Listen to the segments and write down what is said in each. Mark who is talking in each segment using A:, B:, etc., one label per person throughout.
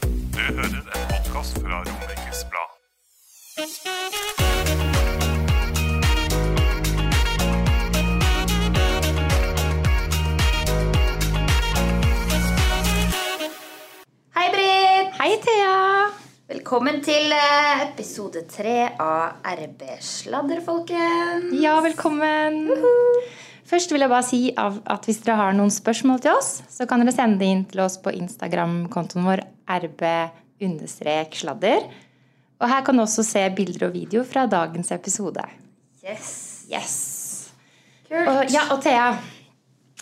A: Du hører en podkast fra Romerikes Blad.
B: Hei, Britt! Hei, Thea! Velkommen til eh, episode tre av RB Sladder, folkens.
C: Ja, velkommen. Først vil jeg bare si av at hvis dere har noen spørsmål til oss, så kan dere sende det inn til oss på Instagram-kontoen vår rb-sladder. Og her kan du også se bilder og video fra dagens episode.
B: Yes.
C: Yes!
B: Kult.
C: Og, ja, og Thea,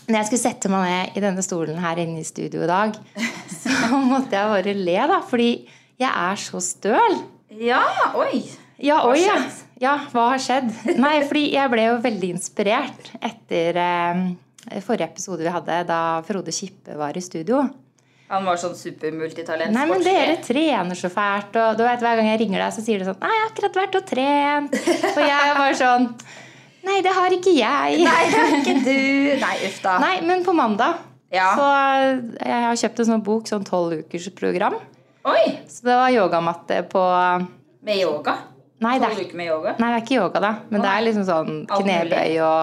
C: når jeg skulle sette meg ned i denne stolen her inne i studio i dag, så måtte jeg bare le, da, fordi jeg er så støl.
B: Ja, oi.
C: Ja,
B: Hva har
C: oi, ja.
B: skjedd?
C: ja, hva har skjedd? Nei, fordi jeg ble jo veldig inspirert etter eh, forrige episode vi hadde, da Frode Kippe var i studio.
B: Han var sånn supermultitalent.
C: Nei, men dere
B: sportslig.
C: trener så fælt, og du vet, hver gang jeg ringer deg, så sier du sånn Nei, jeg har akkurat vært og trent. Og jeg var sånn Nei, det har ikke jeg.
B: Nei, det er ikke du. Nei, uff da.
C: Nei, men på mandag
B: Ja.
C: så eh, jeg har kjøpt en sånn bok, sånn tolvukersprogram.
B: Oi!
C: Så det var yogamatte på
B: Med yoga?
C: Nei, det
B: Tolv
C: er
B: uker med yoga?
C: Nei, det er ikke yoga, da. Men det er liksom sånn
B: Alt mulig.
C: knebøy og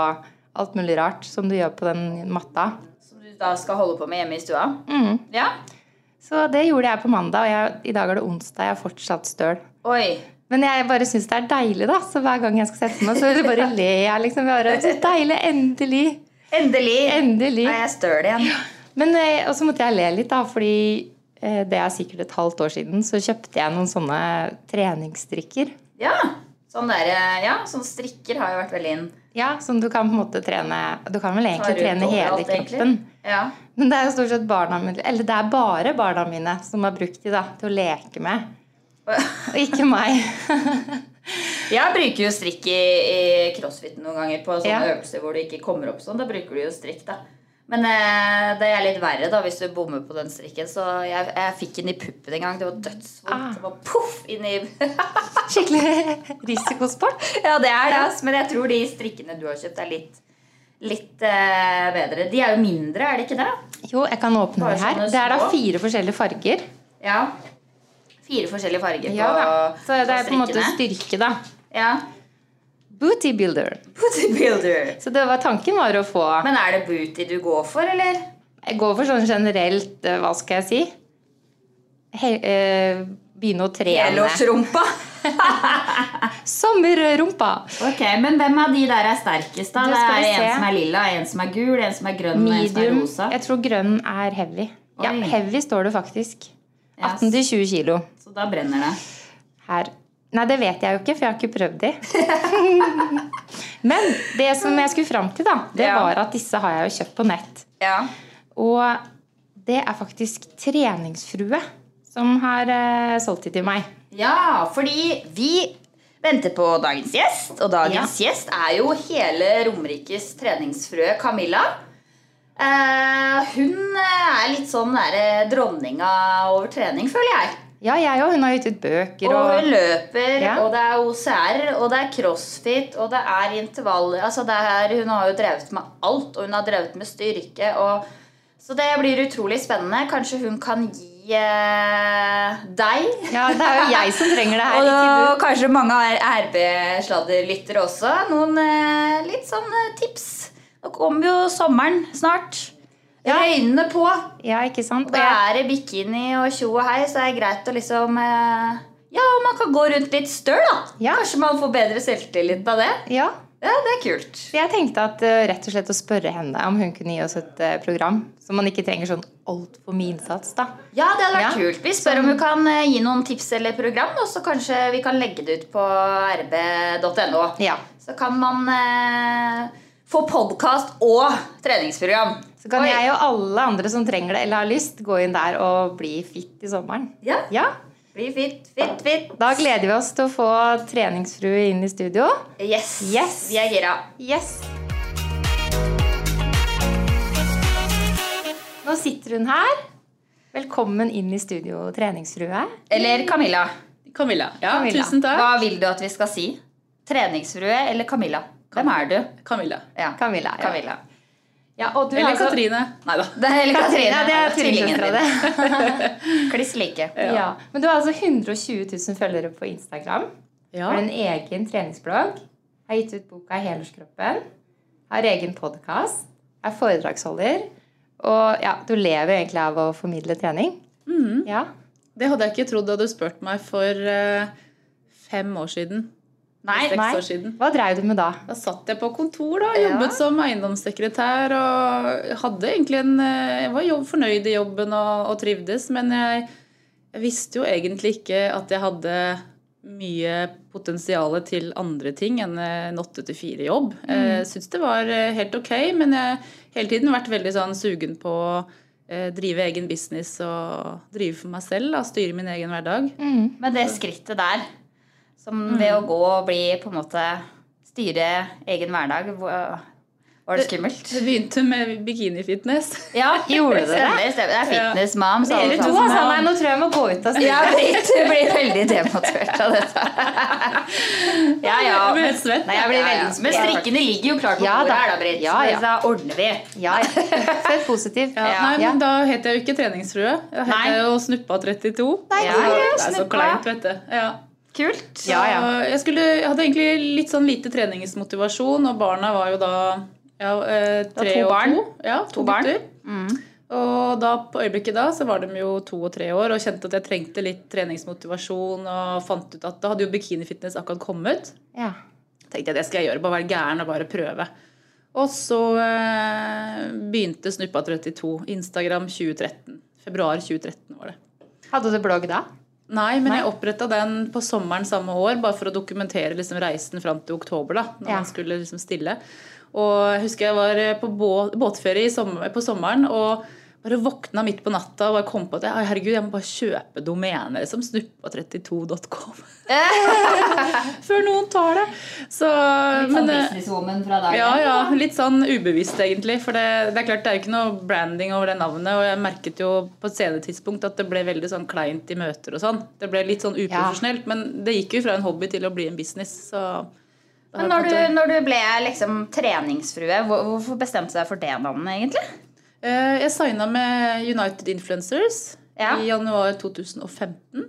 C: alt mulig rart som du gjør på den matta.
B: Som du da skal holde på med hjemme i stua?
C: Mm.
B: Ja?
C: Så det gjorde jeg på mandag, og jeg, i dag er det onsdag. Jeg er fortsatt støl.
B: Oi.
C: Men jeg bare syns det er deilig, da. Så hver gang jeg skal sette meg, så bare ler jeg. liksom. Jeg Bare, så deilig. Endelig.
B: Endelig.
C: Endelig.
B: Er jeg støl igjen?
C: Men, eh, og så måtte jeg le litt, da, fordi eh, det er sikkert et halvt år siden, så kjøpte jeg noen sånne treningsstrikker.
B: Ja. Sånn der, eh, ja, sånn strikker har jo vært veldig inn.
C: Ja, Som du kan på en måte trene Du kan vel
B: Tar ut
C: egentlig trene hele
B: overalt, egentlig.
C: kroppen.
B: Ja.
C: Men det er jo stort sett barna mine, eller det er bare barna mine som har brukt de da, til å leke med. Og ikke meg.
B: Jeg bruker jo strikk i, i crossfit noen ganger på sånne
C: Ja.
B: øvelser hvor du ikke kommer opp sånn. Da bruker du jo strikk, da. Men eh, det er litt verre da hvis du bommer på den strikken. Så jeg, jeg fikk den i puppen en gang. Det var dødsvondt.
C: Ah.
B: Det var poff inn i
C: Skikkelig risikosport.
B: Ja, det er det, ass. Men jeg tror de strikkene du har kjøpt, er litt, litt eh, bedre. De er jo mindre, er det ikke det?
C: Jo, jeg kan åpne
B: Bare
C: det her.
B: sånne
C: Det er da
B: små.
C: fire forskjellige farger.
B: Ja. Fire forskjellige farger
C: Ja, da.
B: på,
C: Så det er på en måte
B: strikkene.
C: styrke, da.
B: Ja.
C: Booty builder.
B: Bodybuilder.
C: Så det var tanken var å få
B: Men er det booty du går for, eller?
C: Jeg går for sånn generelt, eh, hva skal jeg si He, eh, Begynne å trene.
B: Helårsrumpa.
C: Sommerrumpa.
B: Ok, Men hvem av de der er sterkest? da?
C: Det
B: Det
C: skal
B: er
C: vi se.
B: En som er lilla, en som er gul, en som er grønn og en som er
C: Medium.
B: rosa.
C: Jeg tror grønn er heavy. Ja,
B: Oi.
C: heavy står det faktisk.
B: Ja,
C: 18-20 kilo.
B: Så da brenner det.
C: her. Nei, det vet jeg jo ikke, for jeg har ikke prøvd de. Men det som jeg skulle fram til, da, det
B: Ja.
C: var at disse har jeg jo kjøpt på nett.
B: Ja.
C: Og det er faktisk Treningsfrue som har eh, solgt de til meg.
B: ja, fordi vi venter på dagens gjest, og dagens gjest er jo hele Romerikes treningsfrø Camilla. Eh, hun er litt sånn der, eh, dronninga over trening, føler jeg.
C: Ja, jeg òg. Hun har gitt ut bøker
B: Og
C: og
B: hun løper,
C: Ja.
B: og det er OCR, og det er crossfit, og det er intervall altså det er, Hun har jo drevet med alt, og hun har drevet med styrke. Og, så det blir utrolig spennende. Kanskje hun kan gi eh, deg
C: Ja, det er jo jeg som trenger det her.
B: og
C: Ikke du.
B: kanskje mange RB-sladderlyttere også. Noen eh, litt sånn eh, tips. Nå kommer jo sommeren snart.
C: Ja.
B: Røynene på.
C: Ja, ikke sant?
B: Og
C: Og
B: da
C: jeg,
B: er det bikini og tjo og hei, så er det greit å liksom eh, Ja, og man kan gå rundt litt støl, da.
C: Ja.
B: Kanskje man får bedre selvtillit av det.
C: ja,
B: Ja, det er kult.
C: så jeg tenkte at eh, rett og slett å spørre henne om hun kunne gi oss et eh, program. Så man ikke trenger sånn altfor mye innsats, da.
B: Ja, det hadde vært
C: Ja. Sånn.
B: kult. Vi spør om hun kan eh, gi noen tips eller program, og så kanskje vi kan legge det ut på rb.no.
C: Ja.
B: Så kan man eh, få podkast og treningsprogram.
C: Så kan
B: Oi.
C: jeg og alle andre som trenger det eller har lyst, gå inn der og bli fit i sommeren.
B: Ja.
C: Ja.
B: Bli fit, fit, fit.
C: Da gleder vi oss til å få treningsfrue inn i studio.
B: Yes.
C: Yes.
B: Vi er gira.
C: Yes. Nå sitter hun her. Velkommen inn i studio, treningsfrue.
B: Eller Camilla.
D: Camilla. Ja,
C: Camilla.
D: tusen takk.
B: Hva vil du at vi skal si? Treningsfrue eller Camilla? Hvem er du?
D: Camilla.
B: Ja.
C: Camilla. Ja.
B: Camilla.
C: Ja, og du
D: Eller
C: har altså-
D: Katrine. Nei da.
B: Det er, eller Katrine.
C: Ja, det er
B: Tvillingen
C: tvillingsøstera di.
B: din. Kliss like.
C: Ja. Men du har altså 120 000 følgere på Instagram. Har en egen treningsblogg. Har gitt ut boka Helårskroppen. Har egen podkast. Er foredragsholder. Og ja, du lever egentlig av å formidle trening. Ja.
D: Det hadde jeg ikke trodd du hadde spurt meg for eh, fem år siden.
B: Nei,
D: Seks
C: Nei.
D: år siden.
C: Hva dreiv du med da?
D: Da satt jeg på kontor da, jobbet som eiendomssekretær og hadde egentlig en, eh, jeg var jobb, fornøyd i jobben og, og trivdes, men jeg, jeg visste jo egentlig ikke at jeg hadde mye potensial til andre ting enn eh, en 8-4-jobb. Jeg syntes det var eh, helt ok, men jeg har hele tiden vært veldig sånn sugen på å eh, drive egen business og drive for meg selv, da, styre min egen hverdag.
B: Men det skrittet der, som
D: Mm.
B: ved å gå og bli på en måte styre egen hverdag, hvor- var det skummelt?
D: Det begynte med bikinifitness.
B: Ja,
C: Gjorde det?
B: Stemmer, stemmer. Det er fitness mom. så alle
C: Dere to,
B: sammen-
C: altså. Nei, nå tror jeg jeg må gå ut av
B: Ja, Britt du blir veldig demotivert av dette. Ja, ja.
D: Jeg blir helt svett.
B: Nei, jeg
C: Ja,
B: blir
C: ja.
B: veldig Men strikkene ligger jo klart på
C: Ja,
B: bordet
C: da.
B: her, da, Britt.
C: Ja, ja.
B: Så Da ordner vi.
C: Ja, ja. Født positiv.
D: Ja, nei,
C: Ja.
D: men da het jeg jo ikke treningsfrue. Da het
B: Nei.
D: jeg jo Snuppa 32.
C: Nei,
B: Ja,
C: du er jo
D: det er så
C: snuppa.
D: kleint, vet du. Ja.
B: Kult.
C: Ja, ja.
D: Så Jeg, skulle, jeg hadde egentlig litt sånn lite treningsmotivasjon, og barna var jo da ja, eh, tre
B: to
D: og
B: barn.
D: to. Ja, to,
B: barn.
D: gutter.
B: Mm.
D: Og da, på øyeblikket da så var de jo to og tre år og kjente at jeg trengte litt treningsmotivasjon. Og fant ut at da hadde jo bikinifitness akkurat kommet
C: Ja.
D: tenkte jeg det skal jeg gjøre, bare være gæren og bare prøve. Og så eh, begynte Snuppa 32, Instagram 2013. Februar 2013 var det.
C: Hadde du blogg da?
D: Nei, men jeg oppretta den på sommeren samme år, bare for å dokumentere liksom, reisen fram til oktober, da, når
C: Ja.
D: man skulle liksom, stille. Og jeg husker jeg var eh, på bå- båtferie i sommer, på sommeren og bare våkna midt på natta og bare kom på at jeg, «Ai, herregud, jeg må bare kjøpe domener som snuppa32.com. Før noen tar det. Så, men, eh,
B: sånn businesswoman fra dagen.
D: ja, ja. Litt sånn ubevisst, egentlig. For det, det er klart det er jo ikke noe branding over det navnet. Og jeg merket jo på et senere tidspunkt at det ble veldig sånn kleint i møter og sånn. Det ble litt sånn uprofesjonelt. Men det gikk jo fra en hobby til å bli en business, så
B: Men
D: da har jeg
B: når
D: på en
B: du,
D: måte-
B: når du ble liksom treningsfrue, hvor- hvorfor bestemte du deg for det navnet, egentlig?
D: Eh, Jeg signa med United Influencers
B: Ja.
D: i januar 2015.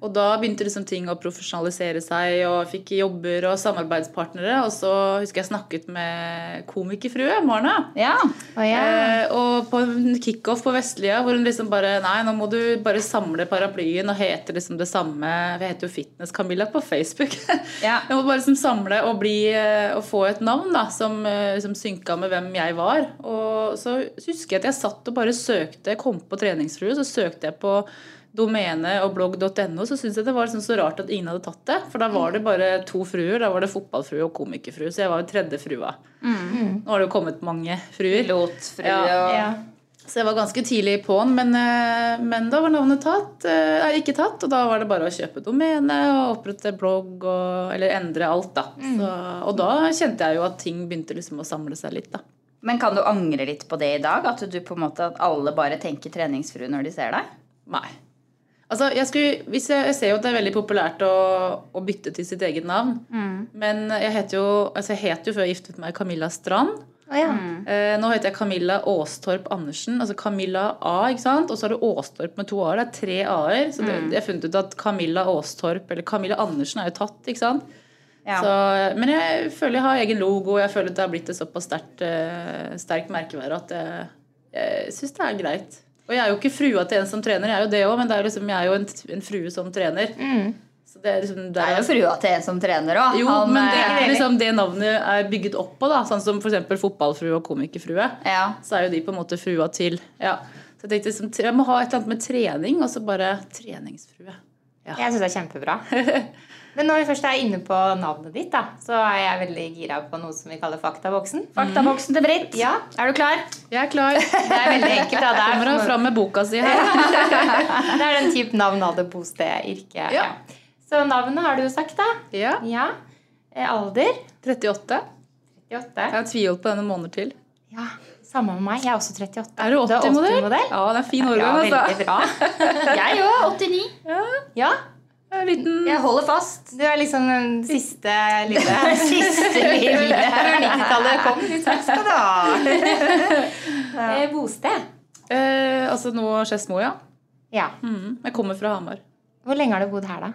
D: Og da begynte liksom ting å profesjonalisere seg, og jeg fikk jobber og samarbeidspartnere. Og så husker jeg snakket med komikerfrue Marna.
B: Ja.
C: Å, ja.
D: Eh, og på en kickoff på Vestlia hvor hun liksom bare Nei, nå må du bare samle paraplyen og hete liksom det samme Vi heter jo Fitness Camilla på Facebook.
B: Ja.
D: Jeg må bare liksom samle og bli eh, og få et navn da som eh, liksom synka med hvem jeg var. Og så husker jeg at jeg satt og bare søkte. Jeg kom på treningsfrue, så søkte jeg på domene og blogg.no, så syntes jeg det var liksom så rart at ingen hadde tatt det. For da var det bare to fruer. Da var det fotballfrue og komikerfrue. Så jeg var jo tredje frua. Nå har det jo kommet mange fruer.
B: Pilotfrue
D: Ja.
B: og
C: Ja.
D: Så jeg var ganske tidlig på'n, men, eh, men da var navnet tatt, eh, nei, ikke tatt. Og da var det bare å kjøpe domene og opprette blogg og Eller endre alt, da. Så, og da kjente jeg jo at ting begynte liksom å samle seg litt, da.
B: Men kan du angre litt på det i dag? At du på en måte at alle bare tenker treningsfrue når de ser deg?
D: Nei. Altså, jeg, skulle, hvis jeg, jeg ser jo at det er veldig populært å, å bytte til sitt eget navn. Men jeg het jo, altså jeg het jo før jeg giftet meg Camilla Strand.
C: Å, ja.
D: Eh, nå heter jeg Camilla Aastorp Andersen. Altså Camilla A, ikke sant? Og så er det Aastorp med to a-er. Det er tre a-er. Så det, jeg har funnet ut at Camilla Aastorp eller Camilla Andersen er jo tatt, ikke sant?
B: Ja.
D: Så, men jeg føler jeg har egen logo. Jeg føler at det har blitt et såpass sterkt, eh, sterkt merkevare at jeg, jeg syns det er greit. Og jeg er jo ikke frua til en som trener, jeg er jo det òg, men det er jo liksom, jeg er jo en, en frue som trener. Så det er liksom, der
B: Det er jo frua til en som trener òg.
D: jo, men det, er liksom, det navnet er bygget opp på, da. Sånn som f.eks. fotballfrue og komikerfrue.
B: eh, Ja.
D: Så er jo de på en måte frua til. Ja. Så jeg tenkte liksom, tre- jeg må ha et eller annet med trening, og så bare treningsfrue.
C: Jeg syns det er kjempebra. Men når vi først er inne på navnet ditt, da, så er jeg veldig gira på noe som vi kaller faktaboksen.
B: Faktaboksen til Britt.
C: Ja, Er du klar?
D: Jeg er klar.
C: Det er veldig enkelt. da. Det er
D: Kommer hun fram med boka si her?
C: Det er den type navn, alder, bosted, yrke.
D: Ja.
C: Så navnet har du jo sagt, da.
D: Ja.
C: Ja. Eh, Alder
D: 38.
C: 38.
D: Jeg har tviholdt på denne måneder til.
C: Ja, Samme med meg. Jeg er også 38.
D: Er du
C: Du er 80-modell?
D: 80-modell? Ja, det er en fin
C: Ja,
D: årgang, altså.
C: veldig bra.
B: Jeg òg. 89.
C: Ja,
D: En liten
B: Jeg holder fast.
C: Du er liksom den siste lille
B: Siste lille.
C: Før 90-tallet kom. Takk skal du ha. Eh, Bosted.
D: eh, Altså nå Skedsmo, ja.
C: Ja.
D: Mhm. Jeg kommer fra Hamar.
C: Hvor lenge har du bodd her, da?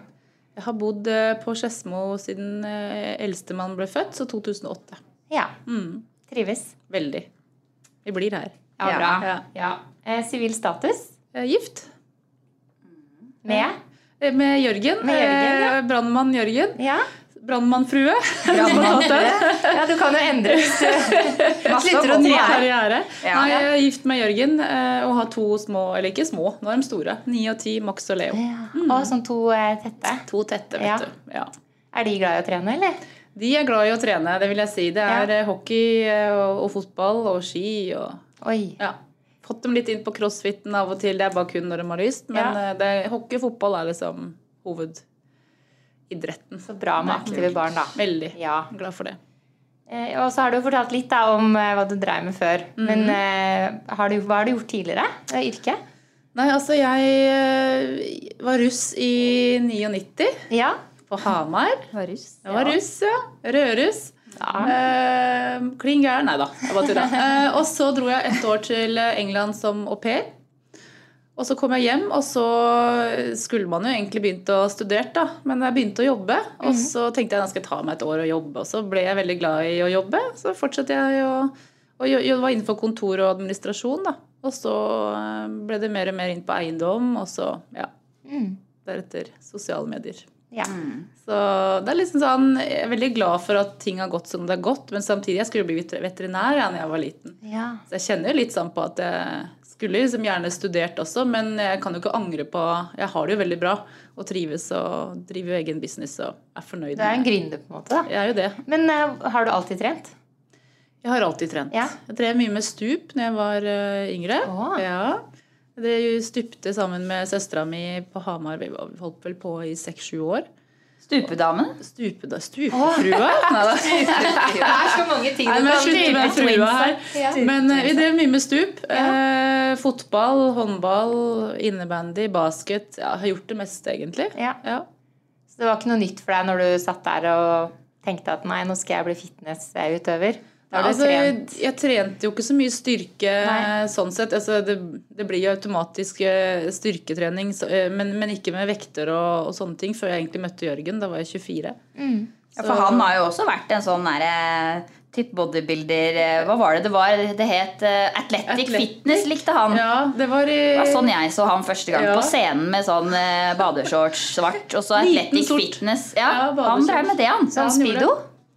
D: Jeg har bodd eh, på Skedsmo siden eh, eldstemann ble født, så 2008.
C: Ja.
D: Mhm.
C: Trives.
D: Veldig. Vi blir her.
C: Ja,
B: Ja.
C: bra.
D: Ja.
C: Ja. Eh, Sivil status?
D: Eh, Gift.
C: Med?
D: Eh, Med Jørgen.
C: Med Jørgen, ja.
D: eh, Brannmann Jørgen.
C: Ja.
D: Brannmannfrue.
C: ja, du kan jo endre hvis du slutter å
D: Ny
C: trene.
D: karriere.
B: Ja.
D: Nei, jeg er gift med Jørgen eh, og har to små Eller ikke små, nå er de store. Ni og ti, Max og Leo.
C: Ja. Og sånn to eh, tette.
D: To tette, vet
C: Ja.
D: du. Ja.
C: Er de glad i å trene, eller?
D: De er glad i å trene, det vil jeg si. Det er
C: Ja.
D: eh, hockey eh, og, og fotball og ski og
C: Oi.
D: Ja. Fått dem litt inn på crossfiten av og til. Det er bare kun når de har lyst. Men
C: Ja.
D: eh, det, hockey og fotball er liksom hovedidretten.
C: Så bra med aktive barn, da.
D: Veldig
C: Ja.
D: glad for det.
C: Eh, Og så har du jo fortalt litt da, om eh, hva du dreiv med før. Men eh, har du, hva har du gjort tidligere? Eh, Yrke?
D: Nei, altså jeg eh, var russ i 99
C: Ja.
D: på Hamar.
C: Var russ.
D: Jeg var russ, ja. Rødruss.
C: Ja.
D: Eh, Klin gæren. Nei da, jeg bare tulla. Eh, og så dro jeg et år til England som au pair. Og så kom jeg hjem, og så skulle man jo egentlig begynt å studere, da. Men jeg begynte å jobbe, og
C: Mhm.
D: så tenkte jeg at jeg skal ta meg et år og jobbe. Og så ble jeg veldig glad i å jobbe. Så fortsatte jeg å og jo- jo- var innenfor kontor og administrasjon, da. Og så eh, ble det mer og mer inn på eiendom, og så, ja.
C: Mm.
D: Deretter sosiale medier.
C: ja.
D: Så det er liksom sånn, Jeg er veldig glad for at ting har gått som det har gått, men samtidig jeg skulle bli vet- veterinær da jeg var liten.
C: ja.
D: Så jeg kjenner jo litt sånn på at jeg skulle liksom gjerne studert også, men jeg kan jo ikke angre på Jeg har det jo veldig bra og trives og driver jo egen business og er fornøyd
C: Du er en
D: med det.
C: gründer, på en måte. da.
D: Jeg er jo det.
C: Men eh, har du alltid trent?
D: Jeg har alltid trent.
C: Ja.
D: Jeg drev mye med stup når jeg var eh, yngre.
C: Å.
D: Ja. Det stupte sammen med søstera mi på Hamar. Vi var- vi holdt vel på i seks-sju år.
B: Stupedamen.
D: Stupe, da, stupefrua? Neida.
C: Det er så mange ting
D: Nei, men jeg slutter med frua her.
C: Ja.
D: Men eh, vi drev mye med stup. Eh, fotball, håndball, innebandy, basket. Ja, har gjort det meste, egentlig.
C: Ja.
D: Ja.
C: Så det var ikke noe nytt for deg når du satt der og tenkte at nei, nå skal jeg bli fitnessutøver? Da har du
D: Altså, jeg,
C: trent.
D: jeg trente jo ikke så mye styrke
C: Nei.
D: eh, sånn sett. Altså, det, det blir jo automatisk eh, styrketrening, så, eh, men, men ikke med vekter og, og sånne ting før jeg egentlig møtte Jørgen. Da var jeg 24.
B: Ja, for han har jo også vært en sånn derre type bodybuilder eh, Hva var det det var? Det het eh, Athletic,
D: Athletic.
B: Fitness, likte han.
D: Ja, det var i
B: Det var sånn jeg så han første gang
D: Ja.
B: på scenen med sånn eh, badeshorts svart. Og så
D: Liten
B: Athletic
D: sort.
B: Fitness. Ja,
D: Ja,
B: han
D: badeshorts.
B: drev med det, han.
C: Sånn
D: han gjorde
C: speedo?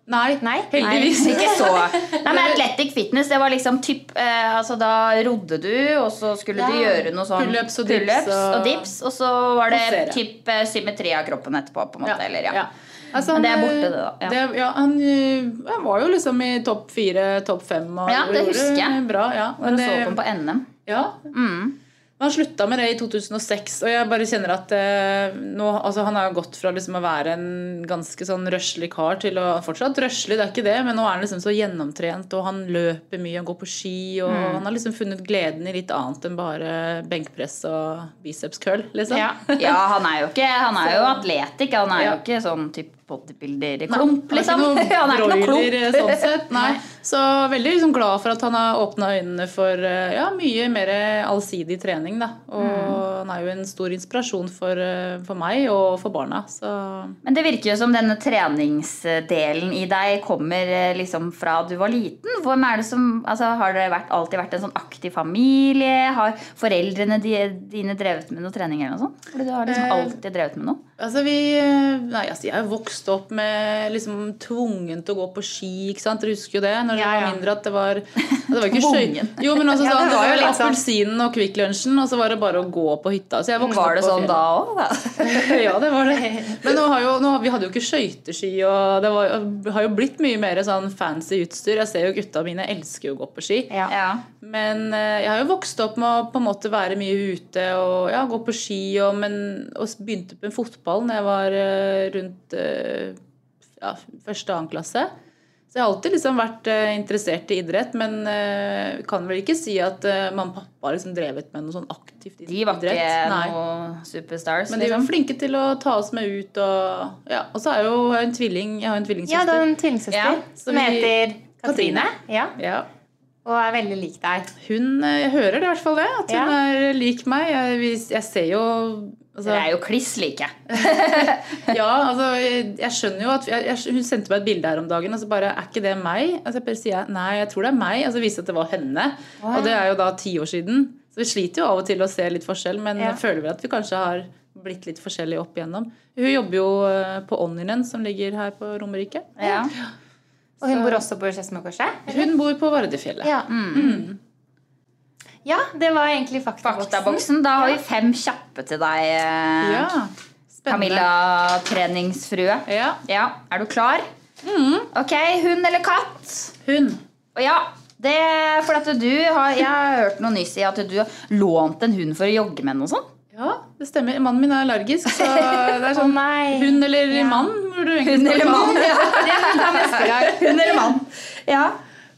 D: Nei,
C: Nei.
D: heldigvis.
B: Nei, ikke så. Nei, men Athletic Fitness, det var liksom typ eh, Altså, da rodde du, og så skulle du gjøre noe sånn
D: Pull-ups og dips og-
B: og dips, og så var det
D: Posere.
B: typ eh, symmetri av kroppen etterpå, på en måte. Eller, ja.
D: Altså,
B: Men det
D: han,
B: er borte, det da. Ja.
D: det- ja, han, ø, han var jo liksom i topp fire, topp fem. Og
B: Ja, det
D: gjorde
B: husker jeg.
D: Bra, ja. Men
B: Og så
D: det-
B: på Mm. den på NM.
D: ja. Men han slutta med det i 2006, og jeg bare kjenner at eh, nå, altså, han har jo gått fra liksom å være en ganske sånn røslig kar til å Fortsatt røslig, det er ikke det, men nå er han liksom så gjennomtrent, og han løper mye, han går på ski, og
B: Mm.
D: han har liksom funnet gleden i litt annet enn bare benkpress og biceps curl, liksom.
C: Ja.
B: Ja, han er jo ikke Han er jo atletikk. Han er
D: Ja.
B: jo ikke sånn typ bodybuilder-klump,
D: Nei,
B: liksom.
D: Han er ikke
B: Han er ikke noe klump.
D: broiler, sånn sett. Nei. Så veldig liksom, glad for at han har åpna øynene for eh, ja, mye mer eh, allsidig trening. Da. Og han er jo en stor inspirasjon for, eh, for meg og for barna. Så
B: Men det virker jo som denne treningsdelen i deg kommer eh, liksom fra du var liten. Hvem er det som, altså, har det vært, alltid vært en sånn aktiv familie? Har foreldrene di-
D: Eh,
B: dine drevet med noe trening? eller noe sånt? Fordi du har liksom alltid drevet med noe.
D: altså vi eh, Nei, altså, jeg er jo vokst vokste opp med liksom tvungen til å gå på ski. ikke sant? Dere husker jo det? Når dere
C: Ja, ja.
D: var mindre at det var det var ikke
B: Tvungen.
D: skøy- Jo, men også
C: Ja,
D: sånn,
C: det
D: det
C: var
D: var
C: jo litt sånn.
D: Appelsinen og Kvikk Lunsjen, og så var det bare å gå på hytta. Så jeg vokste
B: Var det
D: opp på
B: sånn da òg, da?
D: fjellet. ja, det var det. Men nå har jo, nå, har- vi hadde jo ikke skøyteski, og det var, har jo blitt mye mer sånn fancy utstyr. Jeg ser jo gutta mine elsker jo å gå på ski.
C: Ja.
B: Ja.
D: Men eh, jeg har jo vokst opp med å på en måte være mye ute og ja, gå på ski. Og, men, og s- begynte med fotball når jeg var eh, rundt eh, ja, første og annen klasse. Så jeg har alltid liksom vært eh, interessert i idrett, men eh, kan vel ikke si at eh, mamma og pappa har liksom drevet med noe sånn aktivt
B: De var ikke
D: idrett. Nei.
B: noen superstars.
D: Men de var
B: liksom.
D: flinke til å ta oss med ut og Ja, og så er jo jeg har en tvilling. Jeg har en
C: Ja, du har
D: tvillingsøster.
C: en tvillingsøster
B: Ja,
C: som
D: som vi-
C: heter Katrine.
D: Katrine.
C: Ja,
D: ja.
C: og er veldig lik deg.
D: Hun, eh, jeg hører det i hvert fall det, at hun
C: Ja.
D: er lik meg. Jeg, vi- jeg ser jo altså,
B: Dere er jo kliss like.
D: ja, altså, jeg, jeg skjønner jo at jeg, jeg, Hun sendte meg et bilde her om dagen, og så bare Er ikke det meg? Altså, jeg bare sier jeg, nei, jeg tror det er meg. Og så viste det at det var henne. Og det er jo da ti år siden. Så vi sliter jo av og til å se litt forskjell, men
C: Ja.
D: jeg føler vel at vi kanskje har blitt litt forskjellige opp igjennom. Hun jobber jo eh, på Onninen, som ligger her på Romerike.
B: Ja.
C: Og hun bor også på Skedsmokorset.
D: Hun Mm. bor på Vardøfjellet.
C: Ja. Mm. ja, det var egentlig faktaboksen.
B: Faktaboksen. Da har vi fem kjappe til deg, eh,
D: Ja, Spennende.
B: Camilla treningsfrue.
D: Ja. Mm.
B: Ja, Er du klar? Ok, hund eller katt?
D: Hun.
B: Og ja, det for at du har Jeg har hørt noe nyss i at du har lånt en hund for å jogge med den og sånn.
D: Ja, det stemmer. Mannen min er allergisk, så det er sånn
C: nei.
D: Hun eller mann burde du egentlig snakke om.
B: Ja. Hund eller mann. Ja.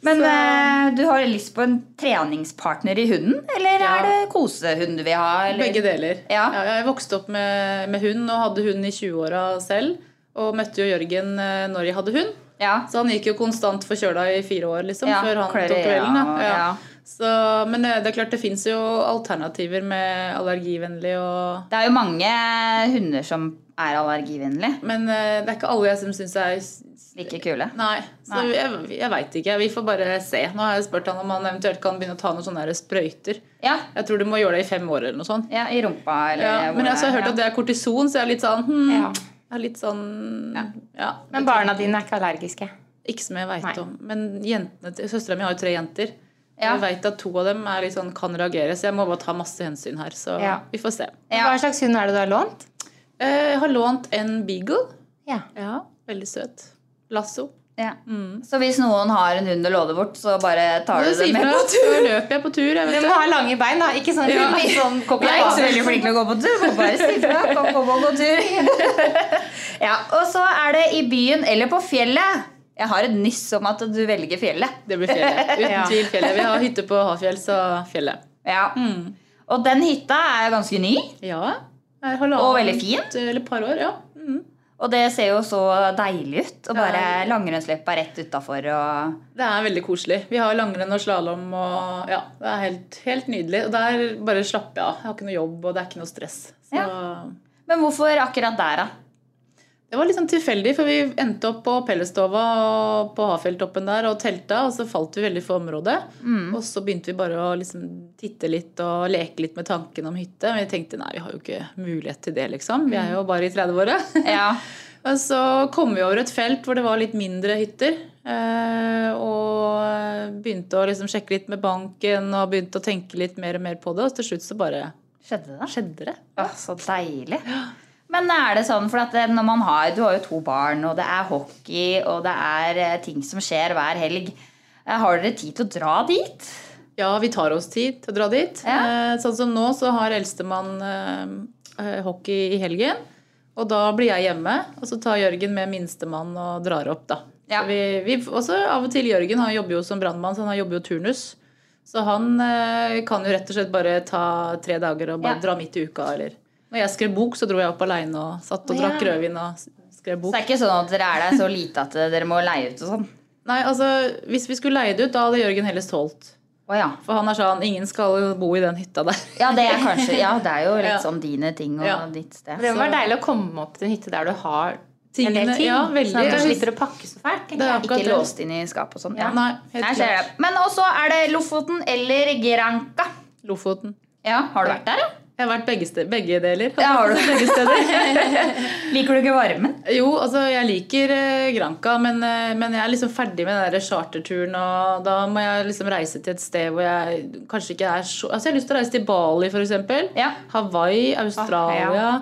B: Men eh, du har lyst på en treningspartner i hunden, eller
D: Ja.
B: er det kosehund du vil ha? Eller?
D: Begge deler.
B: Ja.
D: jeg vokste opp med, med hund og hadde hund i 20-åra selv. Og møtte jo Jørgen eh, når jeg hadde hund.
B: Ja.
D: Så han gikk jo konstant forkjøla i fire år liksom,
B: Ja,
D: før han
B: klør i
D: tok kvelden. Da.
B: øya,
D: Ja.
B: ja.
D: Så, men eh, det er klart det fins jo alternativer med allergivennlig og
B: Det er jo mange hunder som er allergivennlige.
D: Men eh, det er ikke alle jeg som syns er s- s-
B: Like kule.
D: Nei. Så
B: Nei.
D: jeg, jeg veit ikke. Vi får bare se. Nå har jeg spurt han om han eventuelt kan begynne å ta noen sånne her sprøyter.
B: Ja,
D: Jeg tror du må gjøre det i fem år eller noe sånt.
B: ja I rumpa eller
D: Ja,
B: hvor
D: men altså, jeg har hørt at det er kortison, så jeg er litt sånn hmm,
C: Ja.
D: jeg er litt sånn ja.
C: Men barna dine er ikke allergiske.
D: Ikke som jeg
C: Nei.
D: veit om. Men jentene til Søstera mi har jo tre jenter.
B: Ja.
D: Jeg veit at to av dem er litt sånn, kan reagere, så jeg må bare ta masse hensyn her. Så
C: Ja.
D: vi får se.
B: Ja.
C: Hva slags hund er det du har lånt?
D: Eh, Jeg har lånt en beagle.
C: Ja.
D: Ja, Veldig søt. Lasso.
B: Ja. Så hvis noen har en hund å låne bort, så bare tar Mm. du
D: Nå
B: det
D: sier
B: med
D: fra,
B: på tur?
D: så løper jeg på tur. Jeg
C: Du
D: vet
C: må
D: det.
C: ha lange bein, da. Ikke sånn,
D: Ja.
C: ikke sånn
B: Jeg er ikke så veldig
C: copy-paste.
B: flink til å gå på tur. Må bare si fra. Kan komme og gå tur. Ja, Og så er det i byen eller på fjellet. Jeg har et nyss om at du velger fjellet.
D: Det blir fjellet. Uten
C: Ja.
D: tvil fjellet. Vi har hytte på Hafjell, så fjellet.
B: Ja. Og den hytta er jo ganske ny,
D: Ja. det er halvannet-
B: Og veldig fint.
D: Eller et par år, ja.
B: og det ser jo så deilig ut. Og bare langrennsløypa rett utafor og
D: Det er veldig koselig. Vi har langrenn og slalåm. Og ja, det er helt, helt nydelig. Og der bare slapper jeg av. Jeg har ikke noe jobb, og det er ikke noe stress. Så
B: Men hvorfor akkurat der, da?
D: Det var litt sånn tilfeldig, for vi endte opp på Pellestova og på Hafjelltoppen der og telta, og så falt vi veldig for området. Og så begynte vi bare å liksom titte litt og leke litt med tanken om hytte. Men vi tenkte nei, vi har jo ikke mulighet til det, liksom. Vi er jo bare i 30-åra.
B: Ja.
D: Og så kom vi over et felt hvor det var litt mindre hytter. eh, Og begynte å liksom sjekke litt med banken og begynte å tenke litt mer og mer på det. Og til slutt så bare
B: Skjedde det?
D: skjedde det.
B: Å, så deilig. Men er det sånn, for at det- når man har, Du har jo to barn, og det er hockey, og det er eh, ting som skjer hver helg. Eh, Har dere tid til å dra dit?
D: Ja, vi tar oss tid til å dra dit.
B: Ja.
D: Eh, Sånn som nå så har eldstemann eh, eh, hockey i helgen. Og da blir jeg hjemme, og så tar Jørgen med minstemann og drar opp, da.
B: Ja.
D: Så Vi, vi, også av og til Jørgen han jobber jo som brannmann, så han jobber jo turnus. Så han eh, kan jo rett og slett bare ta tre dager og bare
B: Ja.
D: dra midt i uka, eller Når jeg skrev bok, så dro jeg opp aleine og satt
C: Å,
D: og
C: ja.
D: drakk rødvin og s- skrev
B: Så
D: bok.
B: det er ikke sånn at dere er der så lite at eh, dere må leie ut og sånn?
D: Nei, altså, hvis vi skulle leie det ut, da hadde Jørgen heller solgt.
B: Å ja.
D: For han er sånn Ingen skal bo i den hytta der.
B: Ja, det er kanskje, ja, det er jo litt
D: Ja.
B: sånn dine ting og
D: Ja.
B: ditt sted.
C: Det må være deilig å komme opp til en hytte der du har en del
D: Tingene-
C: ting.
D: ja, veldig.
C: sånn at du
D: Jeg-
C: slipper å pakke så fælt. tenker
D: Det er
C: jeg.
D: akkurat
B: Ikke
D: det.
B: låst inn i skap og sånn. Ja.
D: Nei, helt
B: Jeg ser det. Men også er det Lofoten eller Granca.
D: Lofoten.
B: Ja, Har du vært der, ja?
D: Jeg Jeg har vært begge, ste- begge deler.
B: Ja, har du.
D: Begge steder.
B: Liker du ikke varmen?
D: Jo, altså jeg liker eh, Granca, men, eh, men jeg er liksom ferdig med den der charterturen. Og da må jeg liksom reise til et sted hvor jeg kanskje ikke er så Altså jeg har lyst til å reise til Bali, f.eks.
B: Ja.
D: Hawaii, Australia.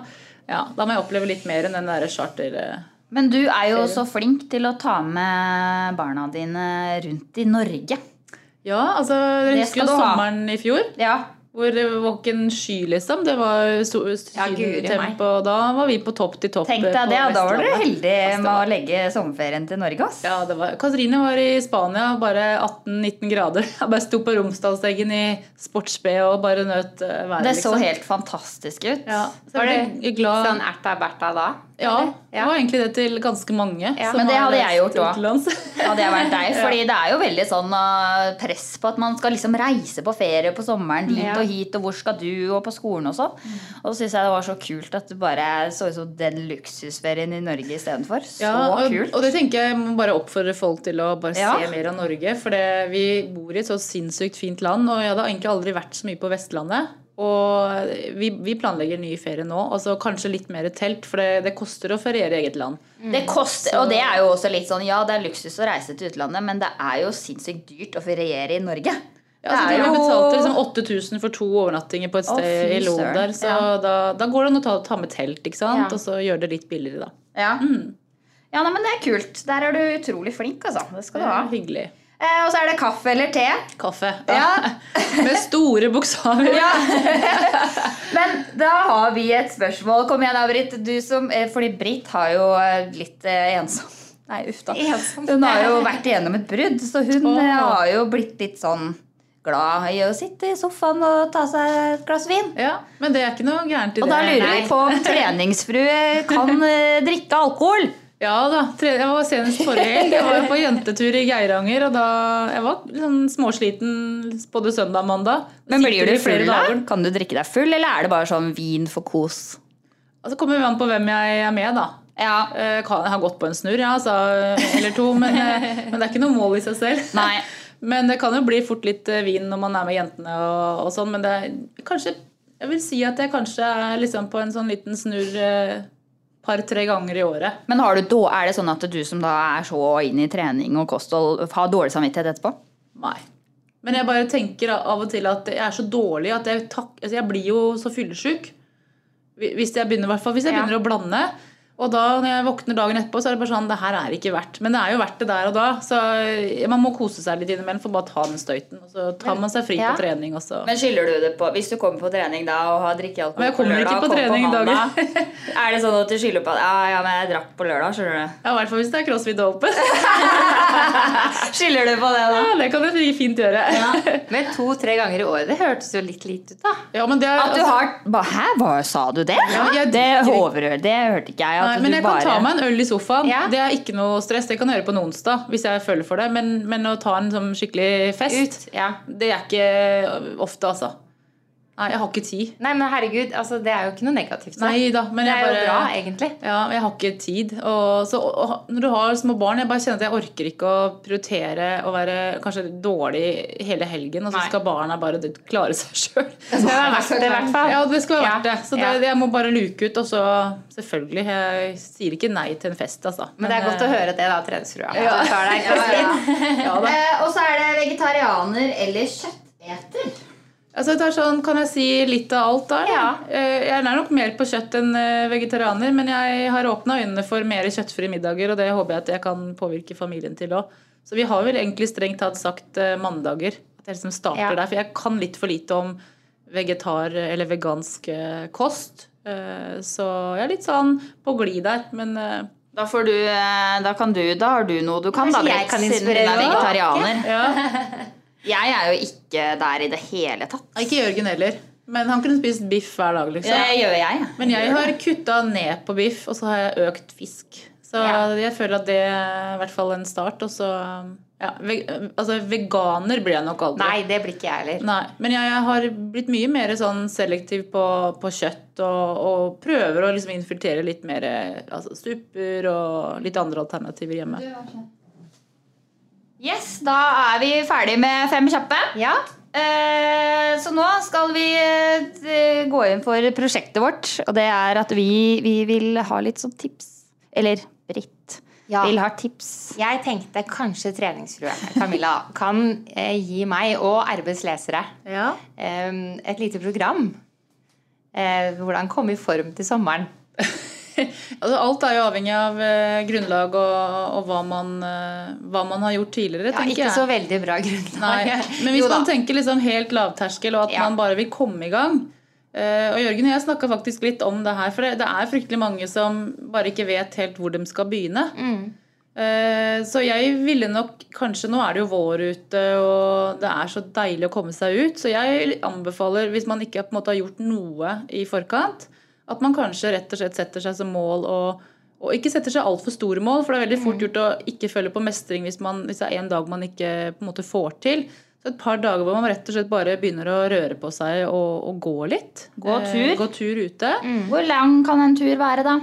C: Ah,
D: ja. Da må jeg oppleve litt mer enn den der charter... eh.
B: Men du er jo så flink til å ta med barna dine rundt i Norge.
D: Ja, altså Dere
B: Det
D: husker jo
B: skal du ha.
D: sommeren i fjor?
B: Ja.
D: Hvor det var ikke en sky, liksom. Det var so
C: Ja, guri meg.
D: sydentempo, og da var vi på topp til topp.
B: Tenk
D: eh, på
B: deg det, og da var dere
D: Vestlandet.
B: heldig
D: Altså,
B: med
D: det
B: å
D: var-
B: legge sommerferien til Norge. ass.
D: Ja, det var, Katrine var i Spania, bare 18-19 grader. Jeg bare sto på Romsdalseggen i sports-B og bare nøt eh, været.
B: Det så
D: liksom.
B: helt fantastisk ut.
D: ja. så
C: Var
D: jeg
C: det
D: ble veldig glad.
C: sånn erta berta da?
D: ja, det
C: Ja.
D: var egentlig det til ganske mange.
C: Ja,
D: som
B: men det
D: har
B: hadde jeg
D: reist
B: gjort også.
D: utenlands.
B: Hadde jeg vært deg. Fordi det er jo veldig sånn uh, press på at man skal liksom reise på ferie på sommeren. Dit
C: Ja.
B: og hit, og hvor skal du, og på skolen og sånn.
D: Mm.
B: Og så syns jeg det var så kult at det bare så ut som den luksusferien i Norge istedenfor. Så
D: Ja, og,
B: kult.
D: og det tenker jeg må bare oppfordre folk til å bare
B: Ja.
D: se mer av Norge. For det, vi bor i et så sinnssykt fint land, og jeg hadde egentlig aldri vært så mye på Vestlandet. Og vi, vi planlegger ny ferie nå, altså kanskje litt mer telt, for det, det koster å feriere i eget land.
B: Det koster, og det er jo også litt sånn Ja, det er luksus å reise til utlandet, men det er jo sinnssykt dyrt å feriere i Norge.
D: Ja, altså,
B: Det er
D: jeg
B: jo-
D: betalte liksom 8000 for to overnattinger på et
B: Å,
D: sted
B: fy
D: i London.
B: søren.
D: der, Så da, da går det an å ta, ta med telt, ikke sant?
C: Ja.
D: og så gjøre det litt billigere, da.
B: Ja, ja nei, men det er kult. Der er du utrolig flink, altså. Det skal du ha.
D: Hyggelig.
B: Eh, og så er det kaffe eller te.
D: Kaffe.
B: Ja.
D: med store bokstaver.
B: Men da har vi et spørsmål. Kom igjen, da, Britt. Du som, eh, fordi Britt har jo eh, litt eh, ensom. Nei, uff da.
C: Ensom.
B: Hun har jo vært igjennom et brudd, så hun
D: Åh.
B: eh, har jo blitt litt sånn glad i å sitte i sofaen og ta seg et glass vin.
D: Ja, Men det er ikke noe gærent i
B: Og
D: det.
B: da lurer
D: Nei.
B: vi på om treningsfrue kan eh, drikke alkohol.
D: Ja da. tre- Jeg var senest forrige helg. Jeg var jo på jentetur i Geiranger. Og da jeg var litt sånn småsliten både søndag og mandag.
B: Men
D: Sitter
B: blir du
D: i flere
B: full da?
D: dager.
B: Kan du drikke deg full, eller er det bare sånn vin for kos?
D: Og så kommer vi an på hvem jeg er med, da.
B: Ja.
D: Eh, kan- Jeg har gått på en snurr, ja, altså, eller to, men, eh, men det er ikke noe mål i seg selv.
B: Nei.
D: Men det kan jo bli fort litt eh, vin når man er med jentene og, og sånn, men det er kanskje Jeg vil si at jeg kanskje er liksom på en sånn liten snurr eh, par-tre ganger i året.
B: Men har du, då- er det sånn at du som da er så inn i trening og kosthold, har dårlig samvittighet etterpå?
D: Nei. Men jeg bare tenker av og til at jeg er så dårlig at jeg, tak altså jeg blir jo så fyllesyk. Hvi- Hvis jeg begynner, i hvert fall, hvis jeg
C: Ja.
D: begynner å blande. Og da når jeg våkner dagen etterpå, så er det bare sånn Det her er ikke verdt. Men det er jo verdt det der og da. Så eh, man må kose seg litt innimellom for bare å ta den støyten. Og så tar man seg fri
C: ja.
D: på trening også.
B: Men skylder du det på Hvis du kommer på trening da og har drikket alkohol
D: Men jeg kommer ikke
B: og
D: på trening i dag.
B: mandag, er det sånn at du skylder på at ja, ja, men jeg drakk på lørdag, skjønner du?
D: Ja, I hvert fall hvis det er CrossFit Open.
B: Skylder du på det, da?
D: ja, det kan jeg fint gjøre. Ja,
C: Men to-tre ganger i året, det hørtes jo litt lite ut, da.
D: men det er,
B: At du
D: altså-
B: har ba, Hæ, hva sa du det?
D: Ja, jeg
B: det
D: drikker-
B: overhører Det hørte ikke jeg. At
D: Nei, men
B: du
D: jeg
B: bare
D: kan ta meg en øl i sofaen.
C: Ja.
D: Det er ikke noe stress. Det kan jeg gjøre på en onsdag hvis jeg føler for det. Men, men å ta en sånn skikkelig fest,
C: Ut, ja.
D: det er ikke ofte, altså. Nei, jeg har ikke tid.
C: Nei, men herregud, altså, det er jo ikke noe negativt. da.
D: Nei da, men
C: det
D: jeg
C: er jo
D: bare-
C: bra, egentlig.
D: Ja, men jeg har ikke tid. Og, så, og, og når du har små barn, jeg bare kjenner at jeg orker ikke å prioritere å være kanskje dårlig hele helgen, og så
C: Nei.
D: skal barna bare klare seg sjøl.
C: Det sånn, skal være verdt det, i hvert fall.
D: Ja, det skal være
C: Ja,
D: verdt det. Så det,
C: ja.
D: jeg må bare luke ut. Og så selvfølgelig, jeg sier ikke nei til en fest, altså.
C: Men det er godt å høre det, da, treningsfrua. Ja. Du tar deg en
D: Ja, da.
B: Eh, og så er det vegetarianer eller kjøtteter.
D: Altså, det er sånn, Kan jeg si litt av alt der? da?
C: Ja.
D: Eh, Jeg er nok mer på kjøtt enn eh, vegetarianer, men jeg har åpna øynene for mer kjøttfrie middager, og det håper jeg at jeg kan påvirke familien til òg. Så vi har vel egentlig strengt tatt sagt eh, mandager. At jeg liksom starter
C: Ja.
D: der. For jeg kan litt for lite om vegetar- eller vegansk eh, kost. Eh, Så jeg er litt sånn på glid der, men eh,
B: Da får du eh, Da kan du Da har du noe du kan,
C: Kanskje
B: da,
C: jeg
B: Britt,
C: kan
B: siden du
C: inspirere
B: er
C: deg.
B: vegetarianer.
D: ja.
B: Jeg er jo ikke der i det hele tatt.
D: Ikke Jørgen heller. Men han kunne spist biff hver dag, liksom.
B: Det gjør jeg.
D: Men jeg har kutta ned på biff, og så har jeg økt fisk. Så
C: Ja.
D: jeg føler at det er i hvert fall en start. Og så ja, ve Altså, veganer blir jeg nok aldri.
C: Nei, det blir ikke jeg heller.
D: Nei, Men jeg har blitt mye mer sånn selektiv på, på kjøtt og, og prøver å liksom infiltrere litt mer eh, altså, supper og litt andre alternativer hjemme.
B: Yes, da er vi ferdig med fem kjappe.
C: Ja,
B: Eh, så nå skal vi eh, d- gå inn for prosjektet vårt. Og det er at vi, vi vil ha litt sånn tips. Eller Britt
C: Ja.
B: vil ha tips.
C: Jeg tenkte kanskje treningsfrue Camilla kan eh, gi meg og RBs lesere
D: Ja.
C: eh, et lite program. Eh, hvordan komme i form til sommeren.
D: Altså, alt er jo avhengig av eh, grunnlag og, og hva, man, eh, hva man har gjort tidligere,
C: Ja,
D: tenker
C: ikke
D: jeg.
C: så veldig bra grunnlag.
D: Nei. Men hvis
C: Jo da.
D: man tenker liksom helt lavterskel, og at
C: Ja.
D: man bare vil komme i gang eh, Og Jørgen og jeg snakka faktisk litt om det her, for det, det er fryktelig mange som bare ikke vet helt hvor de skal begynne. Eh, Så jeg ville nok kanskje Nå er det jo vår ute, og det er så deilig å komme seg ut. Så jeg anbefaler, hvis man ikke på en måte har gjort noe i forkant, at man kanskje rett og slett setter seg som mål å og ikke setter seg altfor store mål, for det er veldig
B: Mm.
D: fort gjort å ikke føle på mestring hvis, man, hvis det er en dag man ikke på en måte får til. Så et par dager hvor man rett og slett bare begynner å røre på seg og, og gå litt.
B: Gå
D: Eh,
B: tur. Mm.
D: Gå tur ute.
B: Hvor lang kan en tur være, da?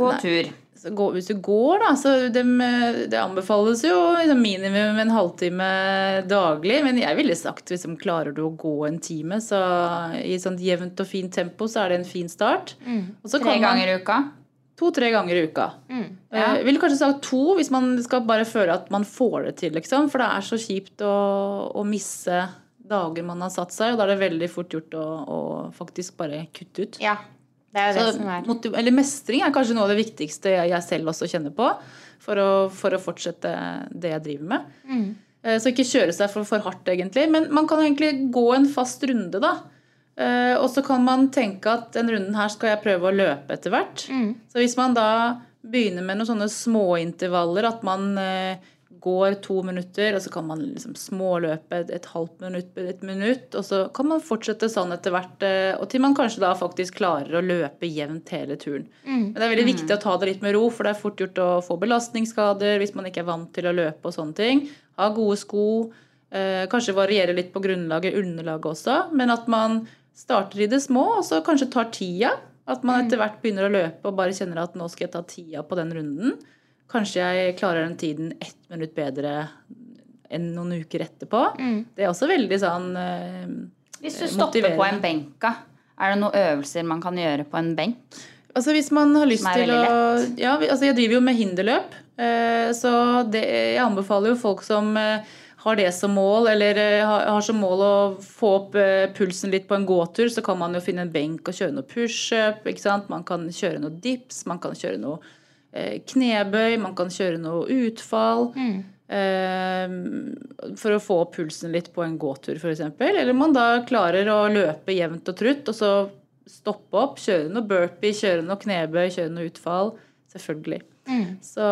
B: Gå
D: Nei.
B: tur.
D: Så gå, hvis du går, da, så dem, eh, det anbefales jo liksom minimum en halvtime daglig. Men jeg ville sagt liksom, klarer du å gå en time, så i sånt jevnt og fint tempo, så er det en fin start. Og så
B: Mm. Tre
D: kan man-
B: ganger i uka.
D: To-tre ganger i uka.
C: Mm,
B: ja.
D: Eh, ville kanskje sagt to, hvis man skal bare føle at man får det til, liksom. For det er så kjipt å, å misse dager man har satt seg, og da er det veldig fort gjort å, å faktisk bare kutte ut.
C: Ja, det er jo det
D: Så,
C: som er.
D: motiv- eller mestring er kanskje noe av det viktigste jeg, jeg selv også kjenner på for å, for å fortsette det jeg driver med.
C: Mm.
D: Eh, Så ikke kjøre seg for, for hardt, egentlig. Men man kan egentlig gå en fast runde, da. Eh, Og så kan man tenke at den runden her skal jeg prøve å løpe etter hvert.
C: Mm.
D: Så hvis man da begynner med noen sånne småintervaller, at man eh, går to minutter, og så kan man liksom småløpe et, et halvt minutt, et minutt, og så kan man fortsette sånn etter hvert, eh, og til man kanskje da faktisk klarer å løpe jevnt hele turen. Men det er veldig viktig å ta det litt med ro, for det er fort gjort å få belastningsskader hvis man ikke er vant til å løpe og sånne ting. Ha gode sko, eh, kanskje variere litt på grunnlaget, underlaget også, men at man starter i det små, og så kanskje tar tida. At man etter hvert begynner å løpe og bare kjenner at nå skal jeg ta tida på den runden. Kanskje jeg klarer den tiden ett minutt bedre enn noen uker etterpå. Det er også veldig sånn eh,
B: Hvis du
D: Eh,
B: stopper på
D: motiverende.
B: en benk, da, er det noen øvelser man kan gjøre på en benk?
D: Altså hvis man har lyst
B: Som er
D: til å
B: veldig
D: ja, vi- altså Jeg driver jo med hinderløp, eh, så det, jeg anbefaler jo folk som eh, har det som mål, eller eh, har har som mål å få opp eh, pulsen litt på en gåtur, så kan man jo finne en benk og kjøre noe pushup. ikke sant? Man kan kjøre noe dips, man kan kjøre noe eh, knebøy, man kan kjøre noe
B: Mm.
D: utfall. eh, For å få opp pulsen litt på en gåtur, f.eks. Eller man da klarer å løpe jevnt og trutt, og så stoppe opp, kjøre noe burpee, kjøre noe knebøy, kjøre noe utfall. Selvfølgelig.
C: Mm.
D: Så